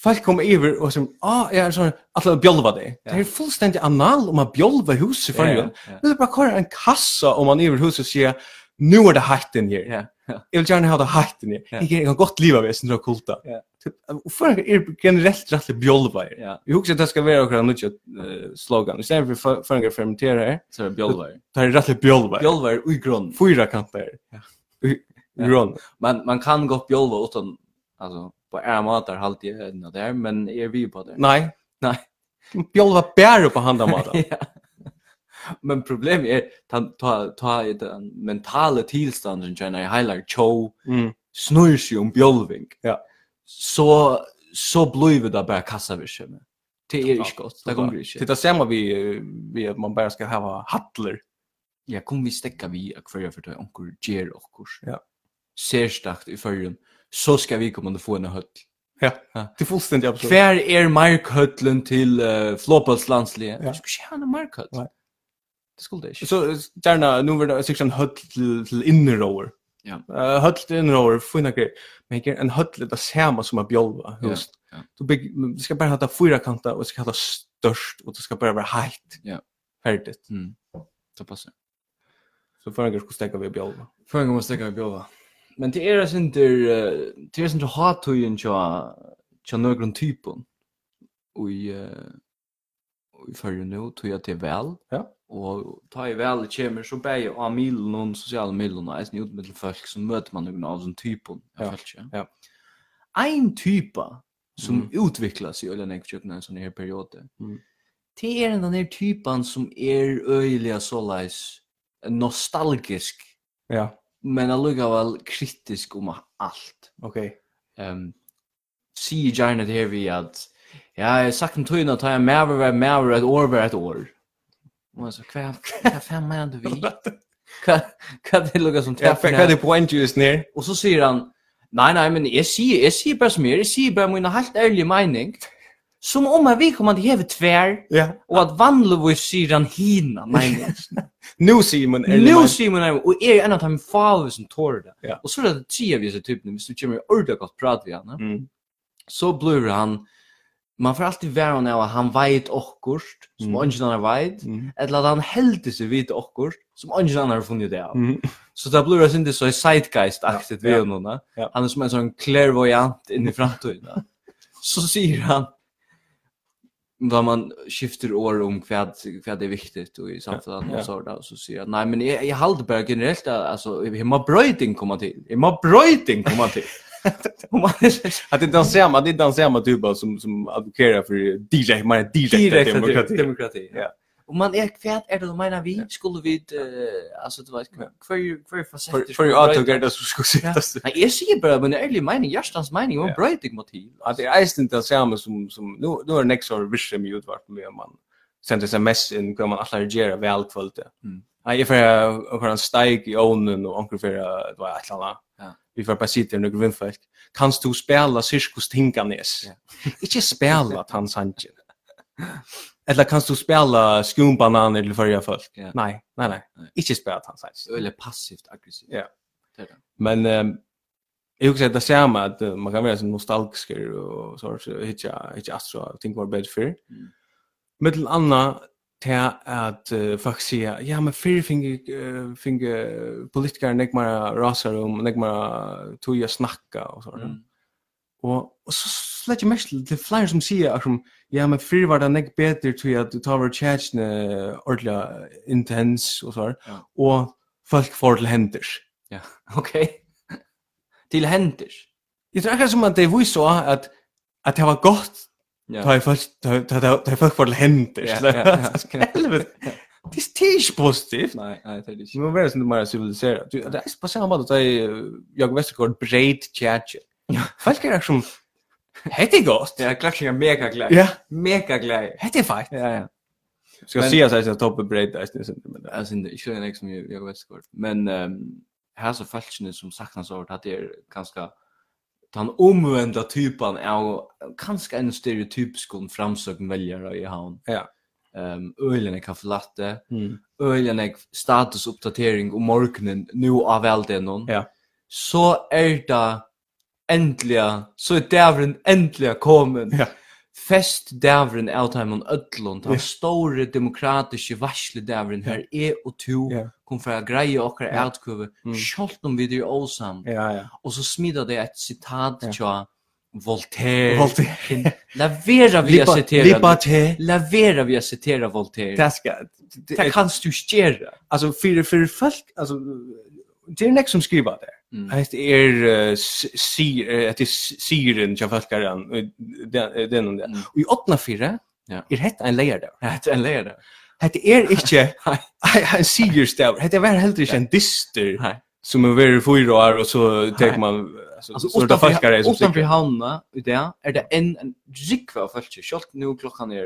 S3: Folk kom iver og som, ah, jeg er sånn, atle a bjolva deg. Det er fullstendig anal om a bjolva huset for jo.
S2: Ja.
S3: Vil du bare kåre en kassa um om man iver huset og sier, nu er det heitt inn her.
S2: Ja. Ja.
S3: Jeg vil gjerne ha det heitt inn her.
S2: Ja.
S3: Jeg kan- jeg kan godt liva ved sin dra kulta.
S2: Ja.
S3: Og for en er generelt rett til bjolva her.
S2: Ja.
S3: Jeg husker at det skal være akkurat nødja eh, slogan. I stedet for for- for en gang fermentere her,
S2: Så är bjölva.
S3: det er rett til bjolva her.
S2: Bjölva är i grund.
S3: Fyra kanter.
S2: Ja. Ja.
S3: Ron.
S2: Man man kan gå bjölva utan alltså på är matar halt i ödna där men är vi på det.
S3: Nei.
S2: Nei.
S3: Bjolva bär på handa mata.
S2: Ja. Men problemet är ta ta ta i den mentala tillstånden som jag highlight show
S3: Mm.
S2: snurrar sig om bjölving.
S3: Ja.
S2: Så så blir det bara kassavische. Det är inte gott. Det kommer inte.
S3: Titta samma vi eh, vi att man bara ska ha hattler.
S2: Ja, kom vi stäcka vi och kvar för det onkel ger och kurs.
S3: Ja.
S2: Särskilt i förrun. Så ska vi komma och få en er höll.
S3: Ja.
S2: Ja.
S3: Det är fullständigt absurt.
S2: Kvar eh, är markhöllen till uh, flopalslandsliga? Ja. Jag ska inte ha en markhöll.
S3: Nej.
S2: Det skulle det ikke.
S3: Så gärna nu vill jag section höll till, till innerower.
S2: Ja.
S3: Eh höll till innerower fina grejer. Men jag en höll er det samma som att bjolva just.
S2: ja.
S3: Du bygg du ska bara ha fyra kanter och ska ha störst och det ska bara vara height.
S2: Ja.
S3: Färdigt.
S2: Mm. Det passar.
S3: Så för en grej skulle stäcka vi bjolva.
S2: Förra gången stäcker jag bjova. Men det är alltså inte eh, det är inte hattøyen tja tja någon typen. Och i eh, och i förra nu tog jag till väl.
S3: Ja.
S2: Och ta i väl kommer så bäj av milen och sociala milen och äsni ut med folk som möter man någon av sån typen.
S3: Ja, ja.
S2: Ein typa som
S3: Mm.
S2: utvecklas i ölen ekjökna en sån här periode.
S3: Mm.
S2: Det är den där typen som är öjliga sålais nostalgisk
S3: Ja.
S2: men allugavall kritisk um om allt.
S3: Okej.
S2: Ehm see gärna det här vi att ja, jag sagt um en tøyna ta jag med var med var ett år var ett år. Man så kvar kvar fem månader vi. Kan kan er det um lugga som
S3: Ja, er för
S2: träffar.
S3: kan det poäng ju is ner.
S2: Och så säger han nej nej men jag ser jag ser bara som jag jag ser bara min helt ärliga mening. Som om jag vi kommer att heve tvär
S3: Ja.
S2: och att vanligtvis säger han hina meningen.
S3: Nu Simon er är
S2: Nu ser man henne, og er en av dem faver som tårer det.
S3: Ja.
S2: Og så er det tre av disse typene, hvis du kommer i ordet godt prat ved henne,
S3: Mm.
S2: så blir han, man får alltid være henne av at han vet akkurat, som
S3: Mm.
S2: mm. ingen annen vet,
S3: Mm.
S2: eller at han heldig seg vite akkurat, som ingen annen har funnet det av.
S3: Mm.
S2: Så det blir det ikke så zeitgeist-aktigt
S3: Ja, ja.
S2: ved henne.
S3: Ja.
S2: Han er som en sånn clairvoyant inn i framtiden. så sier han, da man skifter år om hva, hva det er viktig i samfunnet
S3: Ja, ja.
S2: og så där så sier han, nei, men jeg, jeg halder bare generelt, at, altså, jeg må brøyting komme til, jeg må brøyting komme til. Og man er så-
S3: Att det är den samma, det är den samma typen som som advokerar för direkt mer direkt
S2: direkte
S3: er demokrati.
S2: til demokrati.
S3: Ja.
S2: Og man er, hva er det du mener vi, skulle vi, eh, alltså du vet, hver, hver
S3: För
S2: er fasetter
S3: för ju att det som ska sättas.
S2: Nei, jeg sier bare, men ærlig mening, hjertens mening, man
S3: Ja.
S2: brøyting må til.
S3: att det är inte det samma som som nu nu är det nästa år vision med utvart med om man sent SMS in kan man alla reagera väl kvalitet.
S2: Mm.
S3: Nej, jag får för en steak i ånen och onkel för det var ett annat.
S2: Ja.
S3: Vi får bara sitta under grundfält. Kan du spela Cirkus Tinkanes?
S2: er
S3: Inte spela att han sanjen. Eller kan du spela skumbanan eller förra folk?
S2: Ja.
S3: Nej, nej nej.
S2: Nej.
S3: Inte spela att han sanjen.
S2: Eller passivt aggressivt.
S3: Ja.
S2: Det er det.
S3: Men ehm Jag också det samma att eh, man kan vara så nostalgisk och så så hitcha hitcha astro och think more bad fear.
S2: Mm.
S3: Mittel anna till att uh, faktiskt säga ja men fear finger uh, finger politiker nek mera rasar om nek mera toja snacka och så. Mm.
S2: Mm.
S3: Och, och så släcker jag mest till flyr som säger att som, ja men fear var det nek bättre till att du tar vår tjätsen ordla intens och så.
S2: Ja.
S3: Och folk får till händers.
S2: Ja, ok. Til henders.
S3: Jeg tror akkurat som at det vi så at at det var godt
S2: Ja.
S3: da jeg først da da- da- da jeg først var henter.
S2: Ja,
S3: så-
S2: ja, ja.
S3: Helvete. Det er ikke positivt.
S2: Nei, nei, det er det
S3: Det
S2: ikke.
S3: må være sånn mer civiliseret. Du, Det er på samme måte at jeg jeg eh, Vestergaard breit tjetje. Folk er som Hette er godt.
S2: Ja, klatschen er mega glad.
S3: Ja,
S2: Mega glad.
S3: hette er feit.
S2: Ja, ja.
S3: Skal
S2: Men-
S3: si at jeg toppe breit det er sånn, men det-
S2: Alltså, inte, ikke det som jag, jag vet skort. Men um, här så falskene som saknas over, at det er ganske den omvända typen av ganske en stereotypisk framsøkende velgere i havn.
S3: Ja.
S2: Um, Øylen er kaffelatte, øylen jeg statusuppdatering om morgenen nu av veldenon,
S3: Ja.
S2: så er det endelig, så er dævren endelig kommet.
S3: Ja.
S2: Fest dævren av dem og ødlån, den
S3: Ja.
S2: store demokratiske varsle dævren her er og to,
S3: Ja.
S2: kom for å greie okker
S3: Ja.
S2: utkøve,
S3: Mm.
S2: selv om vi er åsamt,
S3: Ja, ja.
S2: og så smider det et sitat
S3: Ja.
S2: tja, Voltaire.
S3: Holdt det.
S2: La vera vi a citera.
S3: Eh, Liberté.
S2: La vera vi a citera Voltaire.
S3: Det er skal...
S2: Det kan du ikke gjøre.
S3: Alltså för för folk alltså det är nästa som skriver det.
S2: Mm.
S3: Det är eh, sig eh, att det siren jag folk kan den eh, den
S2: Mm.
S3: och i åttna fyra
S2: Ja.
S3: är det en layer där.
S2: Ja, det er en leir det.
S3: Det är inte
S2: Nei.
S3: en sigerstav. Det är väl helt inte en dyster
S2: Nei.
S3: som är över fyra år och så tar
S2: Nej.
S3: man alltså
S2: Altså,
S3: så det folk är som
S2: utanför
S3: sikker.
S2: havna i det, er det en, en rikva av fölkje, kjolt nu klokkan er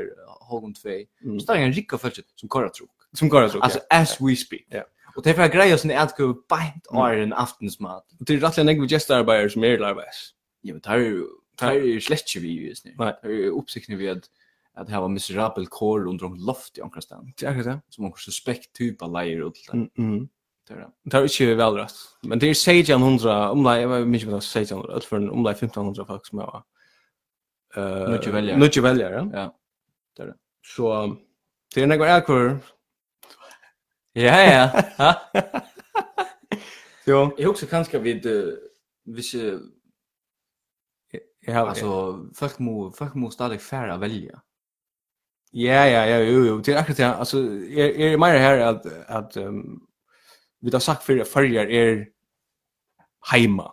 S2: halvgån tvei,
S3: Mm.
S2: så det er en rikva av fölkje som korra trok.
S3: som går så.
S2: Altså, as we speak.
S3: Ja.
S2: Og det er for jeg greier sånn at jeg beint år en aftensmat.
S3: Det är rätt en gestarbeidare som är lärväs.
S2: Ja, men det er jo, det er jo slett ikke vi, just nu.
S3: Nei.
S2: Det er jo oppsikten vi at, att ha en miserabel kår under en loft i omkring stan.
S3: Det er akkurat det.
S2: Som en suspekt typ av lejer ut där.
S3: Mm, mm.
S2: Det är det.
S3: Det er ikke velrett. Men det er 1600, omlai, jeg vet ikke om det er 1600, alt for en omlai 1500 folk som er uh,
S2: Nødt til velgere.
S3: Nødt til velgere.
S2: Ja.
S3: er Så det er nekvar ekkur.
S2: Ja ja.
S3: Jo,
S2: Jag också kanske vid eh, vis eh,
S3: jeg har
S2: alltså folk må folk må stadigt färra välja.
S3: Ja, ja, ja, jo, jo, det er akkurat det. Altså, jeg jeg er mer her at, at um, vi har sagt før at farger er heima.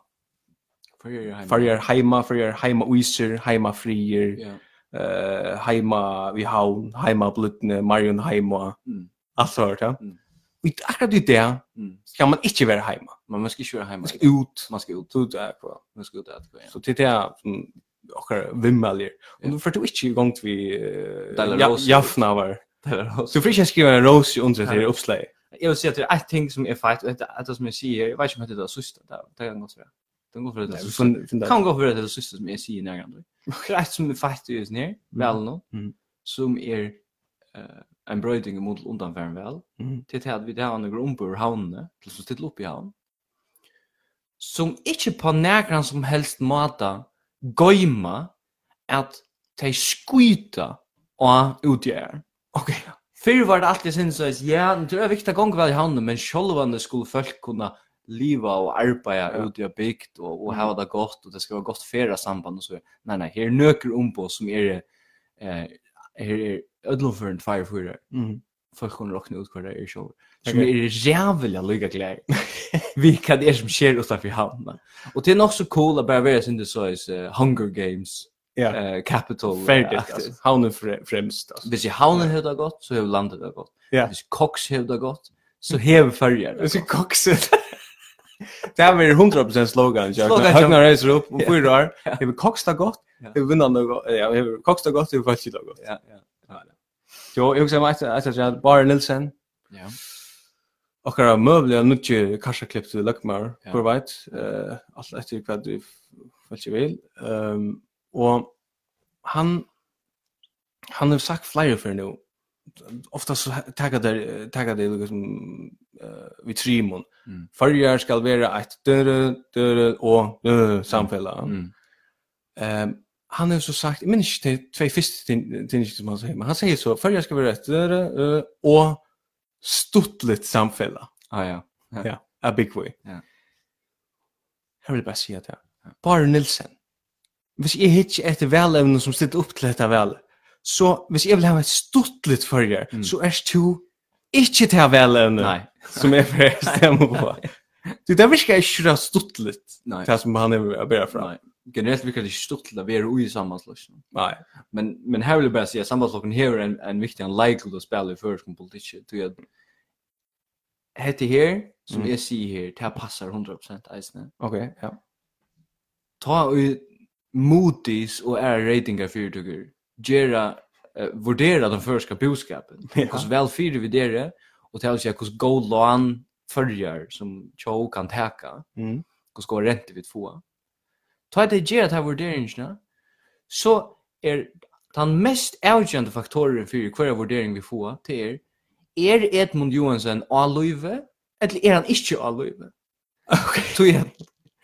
S2: För jag hemma.
S3: Farger heima, farger heima uiser, heima frier,
S2: Ja.
S3: eh, heima vi haun, heima blutne, marion heima,
S2: Mm.
S3: alt så hørt, ja.
S2: Mm.
S3: Og i- akkurat i det
S2: Mm.
S3: skal man ikke være heima.
S2: Men man ska ju köra hemma.
S3: Man skal ut,
S2: Man ska ut. er
S3: ut der, på.
S2: Man ska ut att gå. Ja.
S3: Så det er det som okkar vimmeljer.
S2: Ja.
S3: Og du får du ikke i gang til vi
S2: Dela
S3: uh,
S2: Rose.
S3: jafna var.
S2: Det är
S3: Så du får ikke skriva en rose under det her oppslaget.
S2: Jag vill säga att det är ett ting som er är fight och det är som jag säger, jag vet inte om det är det sista där. Det kan gå så. Det går för det.
S3: Nei, vi
S2: sista.
S3: finn- finn det.
S2: Kan gå för det sista som jag säger när jag. Det är ett som är fight just ner, väl nu.
S3: Mm.
S2: Som är eh en bröding mot undanfärden väl.
S3: Mm.
S2: Till det att vi där har några ombor havne, till så till upp i havn. Som inte på någon som helst mata goima att de skjuta och utgör.
S3: Okej.
S2: Fyrr var det alltid sin sås, ja, nu tror jag viktigt att gånga väl i handen, men självande skulle folk kunna liva och arbeta
S3: Ja.
S2: ute i bygd och, och
S3: Mm.
S2: ha det gott och det ska vara gott färra samband och så. Nej, nej, här är nöker om på som är det, eh, här är ödlomförande firefyrare.
S3: Mm.
S2: Folk kunna råkna ut kvar det är själv. Som
S3: Okej.
S2: är jävla lyga glädje. Vi kan det är som er sker utanför hamnen. Och det är nog så er cool att bara vara sin det sås eh, Hunger Games,
S3: Ja.
S2: eh, Capital. eh,
S3: Färdigt
S2: aktivt.
S3: alltså. Haunen fre- främst alltså.
S2: Hvis i havnen hevur det gott, så hevur landet det gott.
S3: Ja.
S2: Hvis koks hevur det gott, så hevur färjar
S3: Det är
S2: er det
S3: så
S2: gott.
S3: koxigt. Det här blir 100% slogan.
S2: Slogan,
S3: Jag högnar reser upp um om
S2: Ja.
S3: fyra år.
S2: Ja.
S3: Det blir koxta gott.
S2: Ja.
S3: Det blir vinnande gott. Ja, det blir koxta gott. Det blir falskigt gott.
S2: Ja, ja.
S3: Jo, um jag också vet att jag hade bara Nilsen.
S2: Ja.
S3: Och några möbler och mycket kassaklipp till Lökmar.
S2: Ja.
S3: För vet. eh, Allt efter vad du falskigt vill. Ehm, Och han han har sagt flera för nu. Ofta så taggar det taggar det liksom eh vi trimon.
S2: Mm.
S3: Förjar ska vara ett dörr dörr och dörr samfälla.
S2: Mm.
S3: Ehm han har så sagt, men inte till två första tinnish som han säger, men han säger så förjar ska vara ett dörr och stuttligt samfälla.
S2: Ah ja.
S3: Ja, a big way.
S2: Ja.
S3: Jag vill bara säga det. Bara Nilsen. Hvis jeg hittir etter velevnen som stilt opp til dette vel, så hvis jeg vil ha et stuttligt førjer,
S2: Mm.
S3: så er du ikke til velevnen
S2: Nei.
S3: som jeg vil stemme på. Du, det virker ikke det stuttligt,
S2: Nei.
S3: det som han er å bære fra.
S2: Nei. Generelt virkar det ikke stort til å være ui i sambandslokken.
S3: Nei.
S2: Men, men her vil jeg bare si at sambandslokken hever en, en viktig en leikul å spille i føreskom politikk. Du at hette her, som
S3: Mm.
S2: jeg sier her, det her passar 100% eisne.
S3: Ok, ja.
S2: Ta ui motis og er ratingar fyrtugger. Gjera, uh, vurdera den føreska boskapen. hur väl fyra vi det och till sig hur god lån följer som Cho kan täcka
S3: Mm.
S2: hur ska ränta vi få. Ta er det ger att ha värderingarna så är den mest avgörande faktoren för hur värdering vi får till er är Edmund Johansson alluve eller är han inte alluve? Okej. Tror jag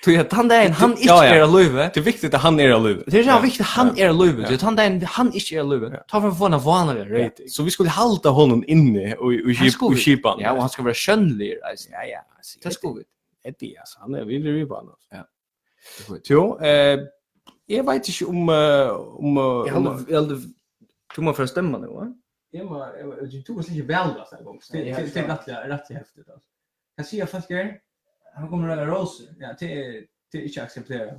S2: tror jag han där han inte
S3: Ja, ja.
S2: är alluve.
S3: Det er viktigt att han er av livet.
S2: Det är så viktigt han er är alluve.
S3: Ja.
S2: Det han där han inte är alluve. Ta för att få en vanlig rating.
S3: Så vi skulle halda honom inne och i
S2: Han skulle-
S3: kipan.
S2: Ja, och han ska vara skönlig. alltså.
S3: ja, ja. alltså,
S2: Det er ska vi.
S3: Eddie, alltså, han er- är vidare vid banan.
S2: Ja.
S3: Jo, eh, jag vet inte om... eh, om, eh,
S2: Jag
S3: om
S2: hade jag hade tog man för att stämma nu, va?
S3: Jag var, jag var, du tog oss lite väl då, en gång.
S2: Det- det- det är
S3: rättliga häftigt. Alltså. Kan se folk är, han kommer att röra roser. Ja, det är, det är inte acceptera.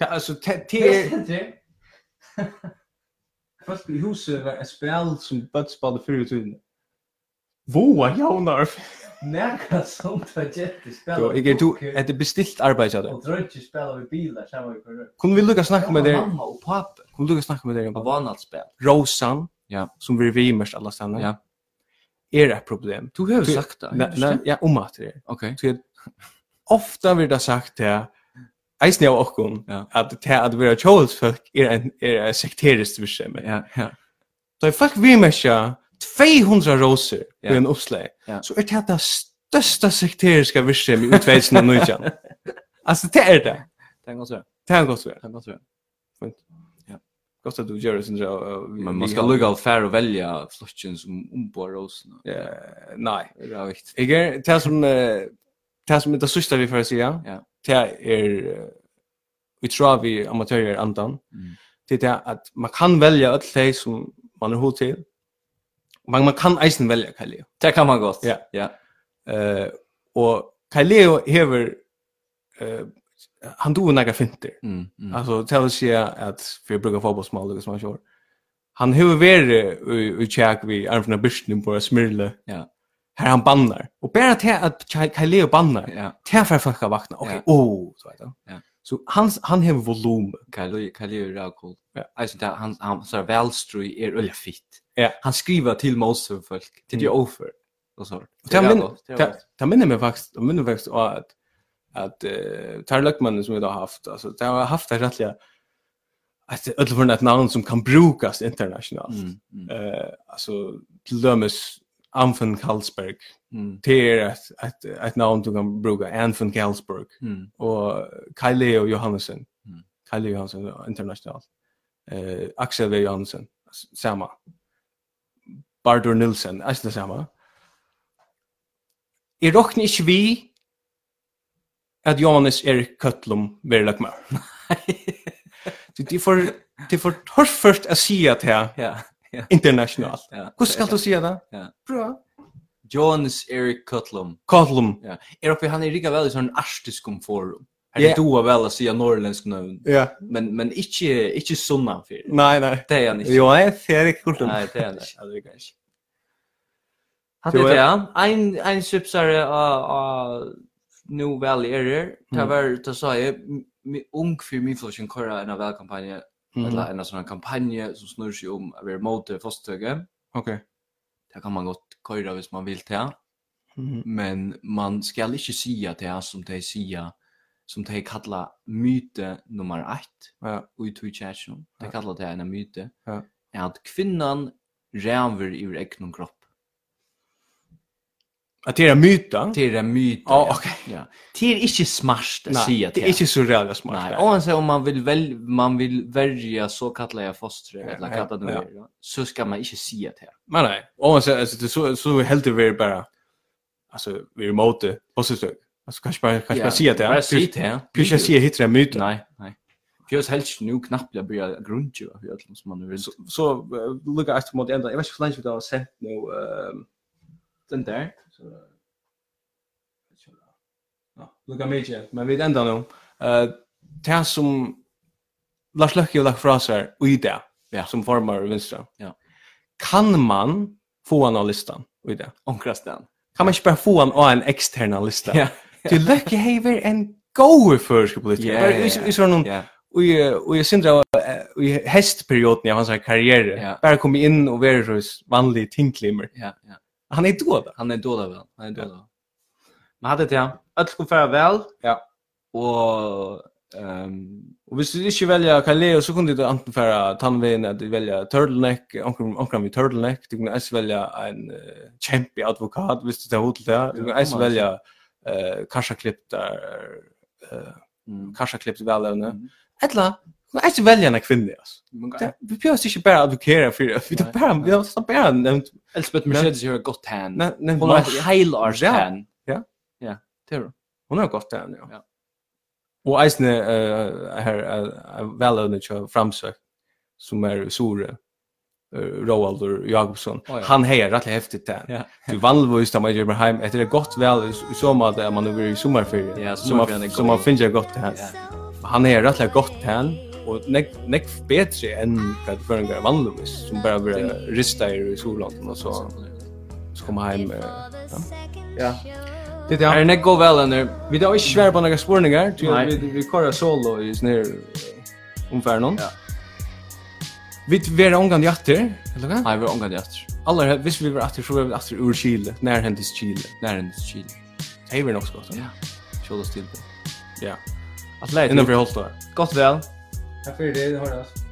S3: Alltså, det er det är... Folk i huset var ett spel som bötspade förr i tiden. Våa, jaunar!
S2: Näka sånt var jättespel.
S3: Jo, jag är du, är det bestilt arbete av det?
S2: dröjt spela med bilar samma i förr.
S3: Kunde vi lukka snacka med dig?
S2: Mamma och pappa.
S3: Kunde vi lukka snacka med dig?
S2: Vad var något spel?
S3: Rosan,
S2: Ja.
S3: som vi vi mest alla stannar,
S2: Ja.
S3: är ett problem.
S2: Du har
S3: Du-
S2: sagt det.
S3: Nej, nej, ja, om att det är.
S2: Okej.
S3: Så jag- ofta vill det sagt det eisen av okkon
S2: Ja.
S3: er att det att vara Charles folk är en är en sekterisk virksomhet.
S2: Ja, ja.
S3: Da er folk vimerskja 200 roser
S2: Ja.
S3: i en oppslag,
S2: Ja.
S3: så er det det største sekteriska virksomhet i utveidsen av Nujjan. Altså, det er det.
S2: Det kan godt være.
S3: Det er godt
S2: Det kan godt være.
S3: Godt at du gjør det, synes jeg. og-
S2: Men man skal lukka og færre og velja flokken som ombår rosen.
S3: Ja, Nei.
S2: Det er viktig.
S3: Ikke? Det som, eh, det som er det sørste vi får si, ja.
S2: Ja.
S3: Det er, eh, vi tror vi amatører andan.
S2: Mm.
S3: Det er det at man kan velge alt det som man er hod til. Man, man kan eisen velge Kaleo.
S2: Det kan man godt.
S3: Ja.
S2: Ja.
S3: Eh, og Kaleo hever, eh, han doer nægge finter.
S2: Mm. mm.
S3: Alltså tell us here att vi brukar få på små luckas man kör. Han hur ver i check vi är från börsen på Smirle.
S2: Ja.
S3: Här han bannar. Och bara till att Kalle bannar.
S2: Ja.
S3: Till för folk att vakna. Okej.
S2: Ja.
S3: Oh, så vet jag.
S2: Ja.
S3: Så han han har volym.
S2: Kalli Kalli er ræv cool.
S3: Ja.
S2: Alltså där han han så er välstrui är öliga fitt.
S3: Ja.
S2: Han skriver till Mose folk till
S3: Mm.
S2: the offer och så.
S3: Och det minner
S2: det er
S3: det- er- det minner mig faktiskt, det minner mig faktiskt av att att eh Tarlökman som vi då har haft alltså det har haft det rättliga att öll för ett namn som kan brukas internationellt.
S2: Mm. mm,
S3: Eh alltså till dömes Anfen Carlsberg
S2: Mm.
S3: det er är ett, ett, ett namn du kan bruka, Anfinn Galsberg
S2: Mm.
S3: och Kyle Leo Johannesson.
S2: Mm.
S3: Kyle Leo Johannesson internationellt. Eh, Axel V. Johannesson, s- samma. Bardur Nilsen, är det samma. Jag råknar inte vi att Johannes Erik Köttlum blir lagt med. Det är för, det är för torrfört att säga det här
S2: Ja.
S3: internationellt.
S2: Ja.
S3: Hur ska du säga det?
S2: Ja.
S3: Bra.
S2: Jonas Erik Cutlum.
S3: Köttlum.
S2: Ja. Är uppe han är rika väl i sån arstiskum forum. Här
S3: Ja.
S2: yeah. du väl att säga norrländsk namn.
S3: Ja.
S2: Men men inte inte sunnan för.
S3: Nej, nej.
S2: Det är han inte.
S3: Jo, nej, det är inte kul.
S2: Nej, det är han inte.
S3: Ja, det är kanske.
S2: Hade
S3: Jo,
S2: det
S3: ja.
S2: ja. Ein ein sipsare av av nu väl är det. Det var det sa jag m- m- ung för min flocken köra en av välkampanje
S3: Mm.
S2: eller en sån kampanje som snurrar sig om att vara mot fostöge.
S3: Okej.
S2: Det kan man gott köra hvis man vill det.
S3: Mhm.
S2: Men man ska inte säga det som de säger som de kallar myte nummer 1
S3: Ja.
S2: och i Twitch-chatten. De
S3: Ja.
S2: kallar det en myte.
S3: Ja.
S2: Är att kvinnan räver ur egen kropp.
S3: Att det är en myt då?
S2: Det är en myt.
S3: Ja,
S2: ja.
S3: okej.
S2: Ja. Det är inte smart att säga
S3: Nej, det är inte så jävla smart.
S2: Nej,
S3: Nej.
S2: och om man vill väl man vill välja så kallar jag foster
S3: Ja,
S2: eller
S3: ja,
S2: kallar det
S3: ja.
S2: nu. Så ska man inte säga det.
S3: Men nej. Och man säger alltså det är så så helt det är bara alltså vi är mot det positivt. Alltså kanske bara kanske bara säga det.
S2: Bara säga det.
S3: Kanske jag säger hittar en myt.
S2: Nej, nej. Pjörs helst nu knappt jag börjar grundtjuva för allt som man nu vill.
S3: Så så eh, lukar efter mot ända. Jag vet inte hur länge vi då har sett nu ehm
S2: Den där.
S3: Ja, lukka mykje, men vi enda nu. Uh, det som Lars Løkke har lagt fra seg i det,
S2: Ja.
S3: som formar Vinstra.
S2: Ja.
S3: Kan man få han av listan i det?
S2: Onkrast den.
S3: Kan man ikke bare få han av en ekstern lista?
S2: Ja.
S3: Til Løkke hever en gode førske politiker.
S2: Ja, ja, ja.
S3: I sånn noen,
S2: Ja.
S3: og jeg synder av, eh, i hestperioden av hans her karriere,
S2: Ja.
S3: bare komme inn og være hos vanlige tingklimmer.
S2: Ja, ja.
S3: Han er då da.
S2: Han är dålig väl. Han är dålig. Ja. Men hade det ja. Allt skulle fara väl.
S3: Ja.
S2: Och ehm
S3: Og hvis du ikke velger Kaleo, så kunne du enten fære tannveien, at du velger turtleneck, omkring vi turtleneck, du kunne også velge en uh, kjempe advokat, hvis du tar hod til det. Du kunne
S2: Ja,
S3: også
S2: man
S3: velge uh, kassaklipp der, uh,
S2: mm.
S3: kassaklipp til velevne.
S2: Mhm.
S3: Etla, du kunne også velge en kvinne, altså.
S2: man kan-
S3: Det, vi behøver ikke bare advokere for det, vi tar
S2: Nei,
S3: bare, vi har snart bare nevnt,
S2: Elspeth Mercedes gör gott hand.
S3: ne- nevnt,
S2: Hon har
S3: navn.
S2: ett heilars
S3: Ja.
S2: hand.
S3: Ja.
S2: Ja, det är det.
S3: Hon har gått den, er ja.
S2: Ja.
S3: Og eisne uh, her uh, veløvne kjø framsøk, som er Sore, uh, Roaldur Jakobsson.
S2: Å, ja.
S3: Han heier rettelig heftig den.
S2: Ja.
S3: Du vanligvis da man gjør meg heim, etter det er godt vel i i så måte at man er i sommerferie,
S2: Ja,
S3: så man-
S2: sommerferien er
S3: så man
S2: god.
S3: finner godt den.
S2: Ja.
S3: Han heier rettelig godt den, og nek, nek bedre enn hva det føringer er vanligvis, som bare blir rista i solanden, og så, så kommer heim.
S2: eh.
S3: Uh,
S1: Ja.
S3: det er
S2: Är det går väl eller?
S3: Vi tar ikke svære på noen spurningar, til
S2: Nei.
S3: vi, vi kører solo i snir omfæren noen.
S2: Ja.
S3: Vi er omgang i atter, eller hva?
S2: Nej, vi ångar det efter.
S3: Aller, he- hvis vi er atter, så er vi atter ur Chile, nærhentis Chile.
S2: När den chill.
S3: Det er vi nok skott.
S2: Ja. Kjola still.
S3: Ja.
S2: Att lägga
S3: Innenfor holdt da.
S2: gott väl.
S3: Takk for det, det høres.